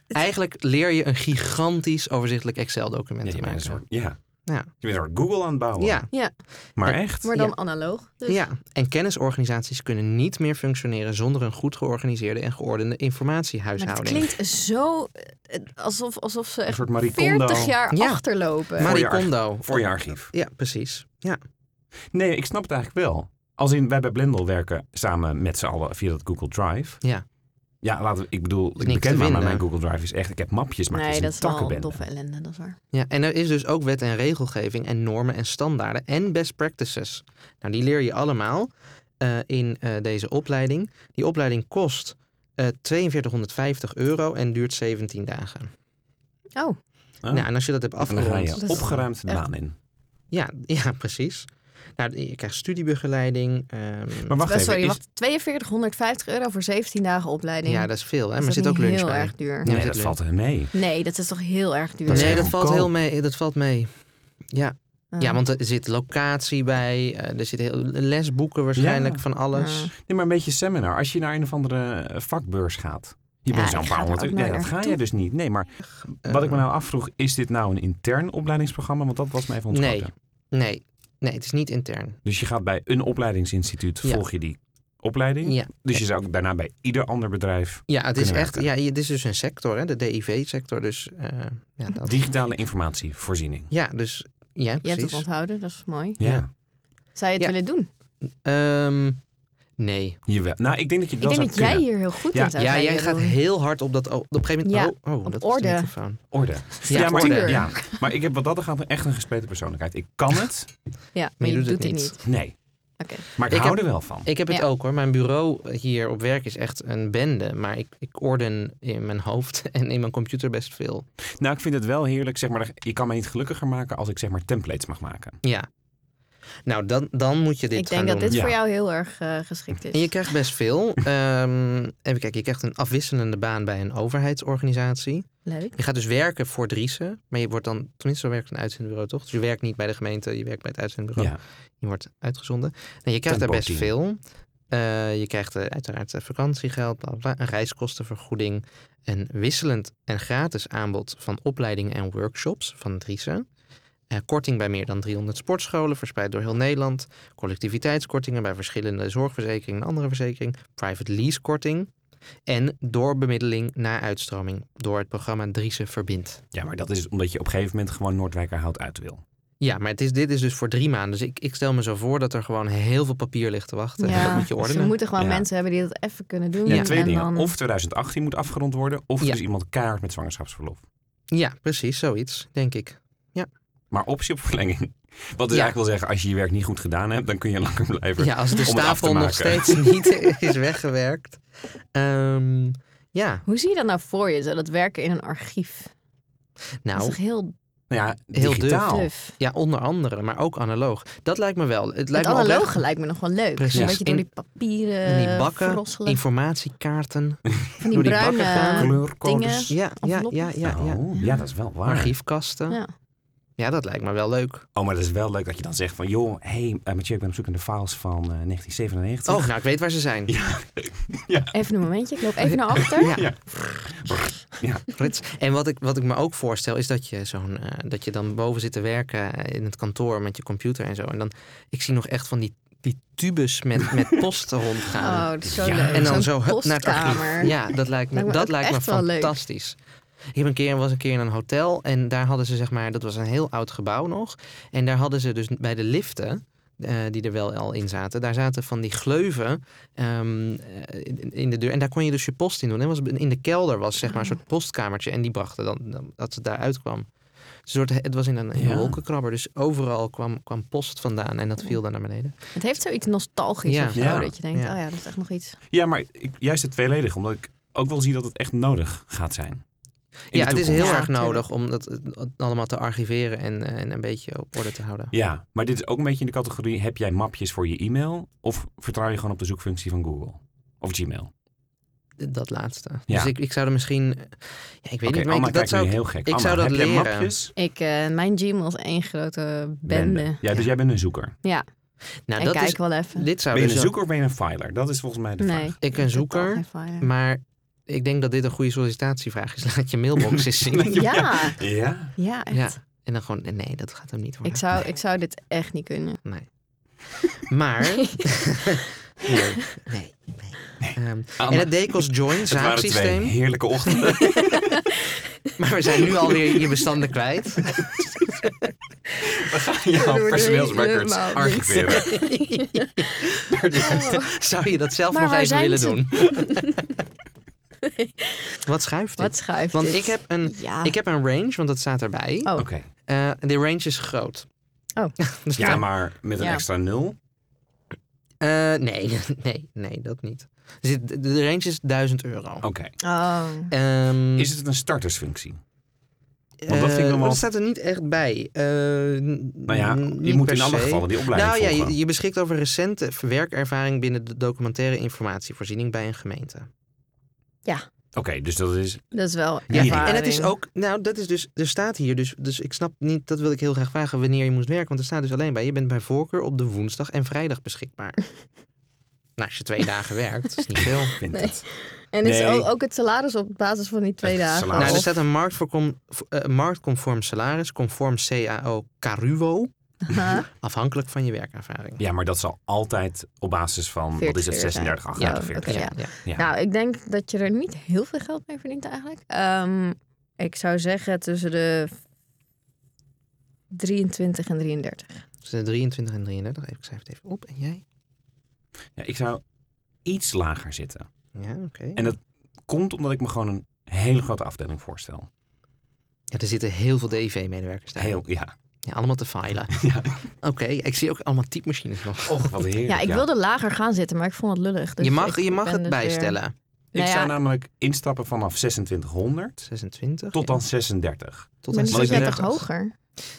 Speaker 1: Eigenlijk leer je een gigantisch overzichtelijk
Speaker 3: Ja,
Speaker 1: Excel-document
Speaker 3: je
Speaker 1: te
Speaker 3: bent een soort,
Speaker 1: maken.
Speaker 3: ja.
Speaker 1: Ja.
Speaker 3: Je bent een soort Google aan het bouwen.
Speaker 1: Ja,
Speaker 3: Maar echt?
Speaker 2: Maar dan analoog. Dus.
Speaker 1: Ja, en kennisorganisaties kunnen niet meer functioneren zonder een goed georganiseerde en geordende
Speaker 2: Maar het
Speaker 1: informatiehuishouding.
Speaker 2: klinkt zo... eh, Alsof, alsof ze
Speaker 3: Een
Speaker 2: echt
Speaker 3: soort Marie Kondo
Speaker 2: 40 jaar
Speaker 1: Ja.
Speaker 2: achterlopen.
Speaker 3: Maar-
Speaker 1: Marie
Speaker 3: voor je
Speaker 1: Kondo.
Speaker 3: voor je archief.
Speaker 1: Ja, precies. Ja.
Speaker 3: Nee, ik snap het eigenlijk wel. Als in, wij bij Blendel werken samen met z'n allen via dat Google Drive.
Speaker 1: Ja.
Speaker 3: Ja, laten we, ik bedoel, ik
Speaker 1: niks te
Speaker 3: beken maar, maar
Speaker 1: vinden.
Speaker 3: mijn Google Drive is echt, ik heb mapjes, maar het
Speaker 2: nee,
Speaker 3: is
Speaker 2: dat
Speaker 3: dus een
Speaker 2: is wel een
Speaker 3: takkenbende.
Speaker 2: doffe ellende, dat is waar.
Speaker 1: ja, en er is dus ook wet en regelgeving en normen en standaarden en best practices. Nou, die leer je allemaal eh, in eh, deze opleiding. Die opleiding kost eh 4250 euro en duurt 17 dagen.
Speaker 2: Oh,
Speaker 3: Huh?
Speaker 1: Nou, en als je dat hebt
Speaker 3: Ah. En dan ga
Speaker 1: afgerond,
Speaker 3: je
Speaker 2: Dat is
Speaker 3: opgeruimd de
Speaker 2: echt-
Speaker 3: baan in.
Speaker 1: ja, ja, precies. Nou, je krijgt studiebegeleiding. ehm,
Speaker 3: Maar wacht
Speaker 2: wel-
Speaker 3: even,
Speaker 2: sorry,
Speaker 3: is-
Speaker 2: wacht. 4250 euro voor 17 dagen opleiding.
Speaker 1: ja, dat is veel, hè?
Speaker 2: Is
Speaker 1: maar er
Speaker 2: dat
Speaker 1: zit ook
Speaker 2: niet
Speaker 1: lunch
Speaker 2: heel
Speaker 1: bij.
Speaker 2: erg duur.
Speaker 1: Ja,
Speaker 3: nee,
Speaker 1: dat
Speaker 3: dat valt er mee.
Speaker 2: Nee, dat is toch heel erg duur.
Speaker 3: Dat is
Speaker 1: nee,
Speaker 3: echt
Speaker 1: dat valt
Speaker 3: goedkoop.
Speaker 1: heel mee. Dat valt mee. Ja.
Speaker 2: Ah.
Speaker 1: ja, want er zit locatie bij, eh, er zit heel, lesboeken waarschijnlijk
Speaker 3: Ja.
Speaker 1: van alles.
Speaker 2: Ah.
Speaker 3: Nee, maar een beetje seminar. Als je naar een of andere eh, vakbeurs gaat. Je
Speaker 2: Ja,
Speaker 3: bent
Speaker 2: ik
Speaker 3: zo'n
Speaker 2: ga
Speaker 3: baan
Speaker 2: er ook
Speaker 3: natuurlijk. Nee, dat
Speaker 2: nooit
Speaker 3: ga
Speaker 2: naartoe.
Speaker 3: je dus niet. Nee, maar
Speaker 1: Eh,
Speaker 3: wat ik me nou afvroeg, is dit nou een intern opleidingsprogramma? Want dat was mij van
Speaker 1: Nee. Nee, nee, het is niet intern.
Speaker 3: Dus je gaat bij een opleidingsinstituut,
Speaker 1: Ja.
Speaker 3: volg je die opleiding.
Speaker 1: Ja.
Speaker 3: Dus je zou ook daarna bij ieder ander bedrijf
Speaker 1: Ja, het is
Speaker 3: Kunnen
Speaker 1: echt. Ja,
Speaker 3: werken.
Speaker 1: het is dus een sector, hè, de DIV-sector. Dus, eh, ja, dat.
Speaker 3: digitale informatievoorziening.
Speaker 1: ja, dus. Ja,
Speaker 2: Je hebt het
Speaker 1: precies.
Speaker 2: onthouden, dat is mooi.
Speaker 3: Ja,
Speaker 1: Ja.
Speaker 2: Zou je het
Speaker 1: Ja.
Speaker 2: willen doen?
Speaker 1: Ehm, nee.
Speaker 3: jawel. Nou, ik denk dat je
Speaker 2: Ik
Speaker 3: wel
Speaker 2: denk
Speaker 3: zou
Speaker 2: dat jij
Speaker 3: kunnen.
Speaker 2: hier heel goed
Speaker 3: Ja,
Speaker 2: in zou
Speaker 1: Ja,
Speaker 2: zijn.
Speaker 1: jij
Speaker 2: Jeroen.
Speaker 1: gaat heel hard op dat. Op een gegeven moment.
Speaker 2: Ja,
Speaker 1: oh, oh,
Speaker 2: op
Speaker 1: dat
Speaker 2: orde.
Speaker 1: Is de microfoon.
Speaker 3: Orde.
Speaker 1: Ja,
Speaker 3: maar,
Speaker 1: orde.
Speaker 3: ik, ja, maar ik heb wat dat gaat echt een gespleten persoonlijkheid. Ik kan het.
Speaker 2: Ja, maar je doet, het niet.
Speaker 3: Nee.
Speaker 2: Oké.
Speaker 3: Maar ik,
Speaker 1: Ik
Speaker 3: hou
Speaker 1: heb-
Speaker 3: er wel van.
Speaker 1: Ik heb het
Speaker 2: Ja.
Speaker 1: ook hoor. Mijn bureau hier op werk is echt een bende. Maar ik, ik orden in mijn hoofd en in mijn computer best veel.
Speaker 3: Nou, ik vind het wel heerlijk. Zeg maar, je kan mij niet gelukkiger maken als ik zeg maar templates mag maken.
Speaker 1: Ja. Nou, dan, dan moet je dit
Speaker 2: Ik
Speaker 1: gaan
Speaker 2: denk dat
Speaker 1: doen.
Speaker 2: dit
Speaker 3: Ja.
Speaker 2: voor jou heel erg eh, geschikt is.
Speaker 1: En je krijgt best veel. Ehm, even kijken, je krijgt een afwisselende baan bij een overheidsorganisatie.
Speaker 2: Leuk.
Speaker 1: Je gaat dus werken voor Driessen. Maar je wordt dan, tenminste zo werkt een uitzendbureau toch? Dus je werkt niet bij de gemeente, je werkt bij het uitzendbureau.
Speaker 3: Ja.
Speaker 1: Je wordt uitgezonden. Nou, je krijgt daar best
Speaker 3: Tempo-team.
Speaker 1: veel. Eh, je krijgt eh, uiteraard eh, vakantiegeld, bla, bla, bla, een reiskostenvergoeding. Een wisselend en gratis aanbod van opleidingen en workshops van Driessen. Eh, korting bij meer dan 300 sportscholen, verspreid door heel Nederland. Collectiviteitskortingen bij verschillende zorgverzekeringen en andere verzekering. Private lease korting. En doorbemiddeling na uitstroming door het programma Driessen Verbindt.
Speaker 3: ja, maar dat is omdat je op een gegeven moment gewoon Noordwijkerhout uit wil.
Speaker 1: Ja, maar het is, dit is dus voor drie maanden. Dus ik, ik stel me zo voor dat er gewoon heel veel papier ligt te wachten. En dat moet Dus je
Speaker 2: ze
Speaker 1: ordenen.
Speaker 2: moeten gewoon
Speaker 3: Ja.
Speaker 2: mensen hebben die dat even kunnen doen.
Speaker 3: Ja, twee
Speaker 2: en
Speaker 3: dingen.
Speaker 2: Dan...
Speaker 3: Of 2018 moet afgerond worden, of
Speaker 1: Ja.
Speaker 3: dus iemand kaart met zwangerschapsverlof.
Speaker 1: Ja, precies, zoiets, denk ik.
Speaker 3: Maar optie op verlenging. Wat dus
Speaker 1: Ja.
Speaker 3: eigenlijk wil zeggen, als je je werk niet goed gedaan hebt, dan kun je langer blijven.
Speaker 1: Ja, als de
Speaker 3: om het af te
Speaker 1: stapel nog
Speaker 3: maken.
Speaker 1: steeds niet is weggewerkt. Ehm, ja,
Speaker 2: Hoe zie je dat nou voor je? Zo dat werken in een archief. Dat is
Speaker 1: nou, oh,
Speaker 2: toch heel
Speaker 3: Nou ja,
Speaker 1: Heel
Speaker 3: digitaal.
Speaker 2: duf.
Speaker 1: ja, onder andere, maar ook analoog. Dat lijkt me wel. Het
Speaker 2: Het
Speaker 1: lijkt me oprecht-
Speaker 2: analoge lijkt me nog wel leuk.
Speaker 1: Precies.
Speaker 2: Een beetje door
Speaker 1: In-
Speaker 2: die papieren
Speaker 1: in die bakken,
Speaker 2: frosselen.
Speaker 1: Informatiekaarten.
Speaker 2: van die
Speaker 1: door die
Speaker 2: bruine
Speaker 1: bakken gaan.
Speaker 3: Kleurcodes.
Speaker 2: dingen.
Speaker 1: Ja, ja,
Speaker 2: Enveloppen.
Speaker 1: ja, ja. ja.
Speaker 3: Oh, ja, dat is wel waar.
Speaker 1: Archiefkasten.
Speaker 2: Ja.
Speaker 1: Ja, dat lijkt me wel leuk.
Speaker 3: Oh, maar dat is wel leuk dat je dan zegt van... joh, hé, hey, eh, Mathieu, ik ben op zoek naar de files van eh, 1997.
Speaker 1: Oh, nou, ik weet waar ze zijn.
Speaker 2: Even een momentje, ik loop even naar achter.
Speaker 1: Oh, Ja.
Speaker 3: Ja. Ja.
Speaker 1: Frits. En wat ik, wat ik me ook voorstel is dat je, zo'n, eh, dat je dan boven zit te werken eh, in het kantoor met je computer en zo. En dan, ik zie nog echt van die, die tubes met, met post rondgaan.
Speaker 2: Oh, dat is zo
Speaker 3: Ja.
Speaker 2: leuk.
Speaker 1: En dan zo
Speaker 2: Zo'n
Speaker 1: hup, naar het
Speaker 2: postkamer.
Speaker 1: archief. Ja, dat lijkt me,
Speaker 2: Lijkt me
Speaker 1: dat
Speaker 2: ook
Speaker 1: lijkt me
Speaker 2: echt wel leuk.
Speaker 1: fantastisch. Ik heb een keer, was een keer in een hotel en daar hadden ze zeg maar, dat was een heel oud gebouw nog. En daar hadden ze dus bij de liften, eh, die er wel al in zaten, daar zaten van die gleuven ehm, eh, in- in de deur. En daar kon je dus je post in doen. En was, in de kelder was zeg maar een
Speaker 2: Ah.
Speaker 1: soort postkamertje en die brachten dan, dan dat ze daaruit kwam. Een soort, het was in een, in een
Speaker 3: Ja.
Speaker 1: wolkenkrabber, dus overal kwam, kwam post vandaan en dat viel dan naar beneden.
Speaker 2: Het heeft zoiets nostalgisch
Speaker 1: Ja.
Speaker 2: of zo.
Speaker 3: Ja.
Speaker 2: Dat je denkt,
Speaker 1: Ja.
Speaker 2: oh ja, dat is echt nog iets.
Speaker 3: Ja, maar ik, juist het tweeledig, omdat ik ook wel zie dat het echt nodig gaat zijn. In de
Speaker 1: ja, het is
Speaker 3: toekomst.
Speaker 1: heel
Speaker 2: Ja,
Speaker 1: erg
Speaker 2: tuurlijk.
Speaker 1: nodig om dat eh, allemaal te archiveren en, eh, en een beetje op orde te houden.
Speaker 3: Ja, maar dit is ook een beetje in de categorie: heb jij mapjes voor je e-mail? Of vertrouw je gewoon op de zoekfunctie van Google? Of Gmail?
Speaker 1: Dat laatste.
Speaker 3: Ja.
Speaker 1: Dus ik, ik zou er misschien. Ja, ik weet
Speaker 3: Oké,
Speaker 1: niet, maar
Speaker 3: Anna
Speaker 1: ik, dat
Speaker 3: kijkt
Speaker 1: zou
Speaker 3: nu
Speaker 1: ik-
Speaker 3: heel gek.
Speaker 1: ik
Speaker 3: Anna,
Speaker 1: zou dat
Speaker 3: heb jij
Speaker 1: leren.
Speaker 3: mapjes?
Speaker 2: Ik, eh, mijn Gmail is één grote bende.
Speaker 3: Ja, dus jij bent een zoeker.
Speaker 1: Nou,
Speaker 2: en
Speaker 1: dat
Speaker 2: kijk
Speaker 1: is,
Speaker 2: wel even.
Speaker 1: dit zou
Speaker 3: Ben je
Speaker 1: dus
Speaker 3: een
Speaker 1: wel-
Speaker 3: zoeker of ben je een filer? Dat is volgens mij de
Speaker 2: nee,
Speaker 3: vraag.
Speaker 1: Ik een
Speaker 2: heb
Speaker 1: zoeker,
Speaker 2: totaal geen fire.
Speaker 1: Maar ik denk dat dit een goede sollicitatievraag is. Laat je mailbox eens zien.
Speaker 3: Ja.
Speaker 2: Ja,
Speaker 3: Ja?
Speaker 2: ja, echt.
Speaker 1: ja. En dan gewoon, nee, dat gaat hem niet worden.
Speaker 2: Ik, zou, ik zou dit echt niet kunnen.
Speaker 1: Maar. nee, nee. nee. Ehm,
Speaker 3: Anna,
Speaker 1: en het Decos Join
Speaker 3: het waren twee
Speaker 1: zaaksysteem.
Speaker 3: heerlijke ochtenden.
Speaker 1: Maar we zijn nu alweer je bestanden kwijt.
Speaker 3: We gaan jouw personeelsrecords
Speaker 2: Helemaal niet.
Speaker 3: archiveren.
Speaker 1: Zou je dat zelf
Speaker 2: Maar
Speaker 1: nog
Speaker 2: waar
Speaker 1: even
Speaker 2: zijn
Speaker 1: willen
Speaker 2: ze?
Speaker 1: doen? Wat schuift dit?
Speaker 2: Wat schuift
Speaker 1: Want
Speaker 2: dit?
Speaker 1: ik heb, een,
Speaker 2: Ja.
Speaker 1: ik heb een range, want dat staat erbij.
Speaker 2: Oh.
Speaker 3: Oké.
Speaker 1: Eh, de range is groot.
Speaker 2: Oh.
Speaker 1: Dus
Speaker 3: Ja, maar met een
Speaker 2: Ja.
Speaker 3: extra nul.
Speaker 1: eh, nee, nee, nee, dat niet. Dus het- de- de range is 1000 euro.
Speaker 3: Oké.
Speaker 2: Oh.
Speaker 1: Ehm,
Speaker 3: Is het een startersfunctie? want dat vind ik
Speaker 1: eh,
Speaker 3: nog wel-
Speaker 1: dat staat er niet echt bij. Eh, nou
Speaker 3: Nou ja, je moet in alle gevallen die opleiding
Speaker 1: Nou ja,
Speaker 3: volgen.
Speaker 1: je, je beschikt over recente werkervaring binnen de documentaire informatievoorziening bij een gemeente.
Speaker 3: Oké, dus dat is...
Speaker 2: Dat is wel
Speaker 3: Ja,
Speaker 1: Ja, en
Speaker 2: ervaring.
Speaker 1: het is ook, nou, dat is dus, er staat hier, dus, dus ik snap niet, dat wil ik heel graag vragen wanneer je moest werken, want er staat dus alleen bij, je bent bij voorkeur op de woensdag en vrijdag beschikbaar. nou, als je twee dagen werkt, dat is niet veel.
Speaker 3: Vindt
Speaker 2: Nee.
Speaker 3: het.
Speaker 2: En is
Speaker 3: Nee.
Speaker 2: ook, ook het salaris op basis van die twee
Speaker 3: Het
Speaker 2: dagen.
Speaker 3: salaris.
Speaker 1: Nou, er
Speaker 2: Of-
Speaker 1: staat een marktvoorkom- eh, marktconform salaris, conform CAO Caruwo. Afhankelijk van je werkervaring.
Speaker 3: Ja, maar dat zal altijd op basis van, wat is
Speaker 2: 40
Speaker 3: het,
Speaker 2: uur
Speaker 3: 36,
Speaker 2: zijn.
Speaker 3: 38,
Speaker 2: Ja,
Speaker 3: 40.
Speaker 2: oké.
Speaker 1: ja.
Speaker 3: Ja.
Speaker 2: Nou, ik denk dat je er niet heel veel geld mee verdient eigenlijk. Ehm, ik zou zeggen tussen de 23 en 33.
Speaker 1: Dus de 23 en 33, even, ik schrijf het even op. En jij?
Speaker 3: Ja, ik zou iets lager zitten.
Speaker 1: Ja, oké.
Speaker 3: En dat komt omdat ik me gewoon een hele grote afdeling voorstel.
Speaker 1: Ja, er zitten heel veel DIV-medewerkers daar.
Speaker 3: Heel, ja.
Speaker 1: Ja, allemaal te filen.
Speaker 3: Ja.
Speaker 1: Oké, ik zie ook allemaal typemachines nog.
Speaker 3: Och, wat heerlijk.
Speaker 2: Ja, ik wilde lager gaan zitten, maar ik vond het lullig. Dus
Speaker 1: je mag,
Speaker 2: ik
Speaker 1: je mag
Speaker 2: ben
Speaker 1: het
Speaker 2: dus weer-
Speaker 1: bijstellen.
Speaker 3: Ik
Speaker 2: Nou ja.
Speaker 3: zou namelijk instappen vanaf 2600
Speaker 1: 26.
Speaker 3: tot
Speaker 1: ja.
Speaker 3: dan 36.
Speaker 1: Tot
Speaker 2: Maar
Speaker 1: aan
Speaker 2: die zit net
Speaker 1: 36.
Speaker 2: toch hoger?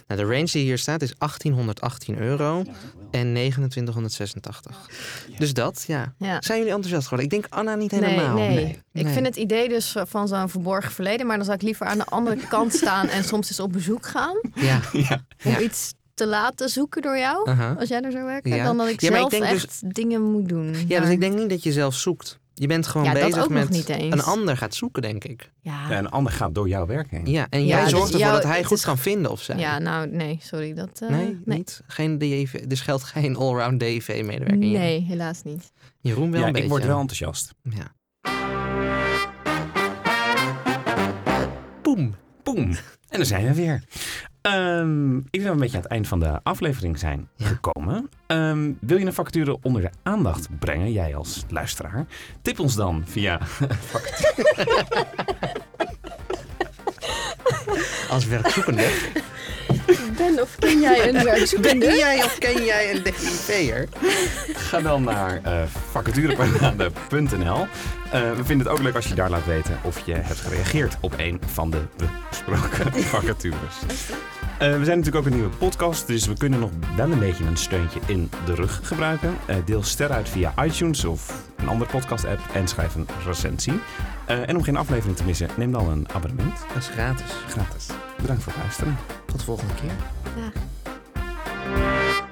Speaker 1: Nou, de range die hier staat is 1818 euro en 2986. Dus dat, ja.
Speaker 2: Ja.
Speaker 1: Zijn jullie enthousiast geworden? Ik denk Anna niet
Speaker 2: Nee,
Speaker 1: helemaal.
Speaker 2: nee. Ik
Speaker 1: nee.
Speaker 2: vind het idee dus van zo'n verborgen verleden, maar dan zou ik liever aan de andere kant staan en soms eens op bezoek gaan
Speaker 1: Ja,
Speaker 3: Ja.
Speaker 2: om
Speaker 1: Ja.
Speaker 2: iets te laten zoeken door jou.
Speaker 1: aha.
Speaker 2: Als jij er zo werkt,
Speaker 1: Ja.
Speaker 2: dan dat ik
Speaker 1: Ja, maar ik
Speaker 2: zelf
Speaker 1: denk dus-
Speaker 2: echt dingen moet doen.
Speaker 1: ja, dus
Speaker 2: Maar-
Speaker 1: ik denk niet dat je zelf zoekt. Je bent gewoon
Speaker 2: Ja, dat
Speaker 1: bezig
Speaker 2: ook nog
Speaker 1: met
Speaker 2: niet eens.
Speaker 1: een ander gaat zoeken, denk ik.
Speaker 2: Ja.
Speaker 3: En een ander gaat door jouw werk heen.
Speaker 1: Ja, en
Speaker 2: Ja,
Speaker 1: jij
Speaker 2: dus
Speaker 1: zorgt ervoor
Speaker 2: jou-
Speaker 1: dat hij
Speaker 2: het
Speaker 1: goed
Speaker 2: is-
Speaker 1: kan vinden of zij.
Speaker 2: Ja, nou nee, sorry. Dat, eh,
Speaker 1: nee, niet. Geen DV, dus geldt geen allround DV-medewerker.
Speaker 2: Nee, helaas niet.
Speaker 1: Jeroen wel
Speaker 3: Ja,
Speaker 1: een beetje.
Speaker 3: ik word wel enthousiast.
Speaker 1: Ja. Boem.
Speaker 3: Boem. En daar zijn we weer. Ehm, ik denk dat we een beetje aan het eind van de aflevering zijn
Speaker 1: Ja.
Speaker 3: gekomen. Ehm, wil je een vacature onder de aandacht brengen, jij als luisteraar? Tip ons dan via
Speaker 1: Als werkzoekende.
Speaker 2: Ben of ken jij een
Speaker 1: ben
Speaker 2: werkzoekende?
Speaker 1: jij of ken jij een DV'er?
Speaker 3: Ga dan naar eh vacatureparade.nl. Eh, we vinden het ook leuk als je daar laat weten of je hebt gereageerd op een van de besproken vacatures. Eh, we zijn natuurlijk ook een nieuwe podcast, dus we kunnen nog wel een beetje een steuntje in de rug gebruiken. Eh, deel ster uit via iTunes of een andere podcast-app en schrijf een recensie. Eh, en om geen aflevering te missen, neem dan een abonnement.
Speaker 1: Dat is gratis.
Speaker 3: Gratis. Bedankt voor het luisteren.
Speaker 1: Tot volgende keer.
Speaker 2: Ja.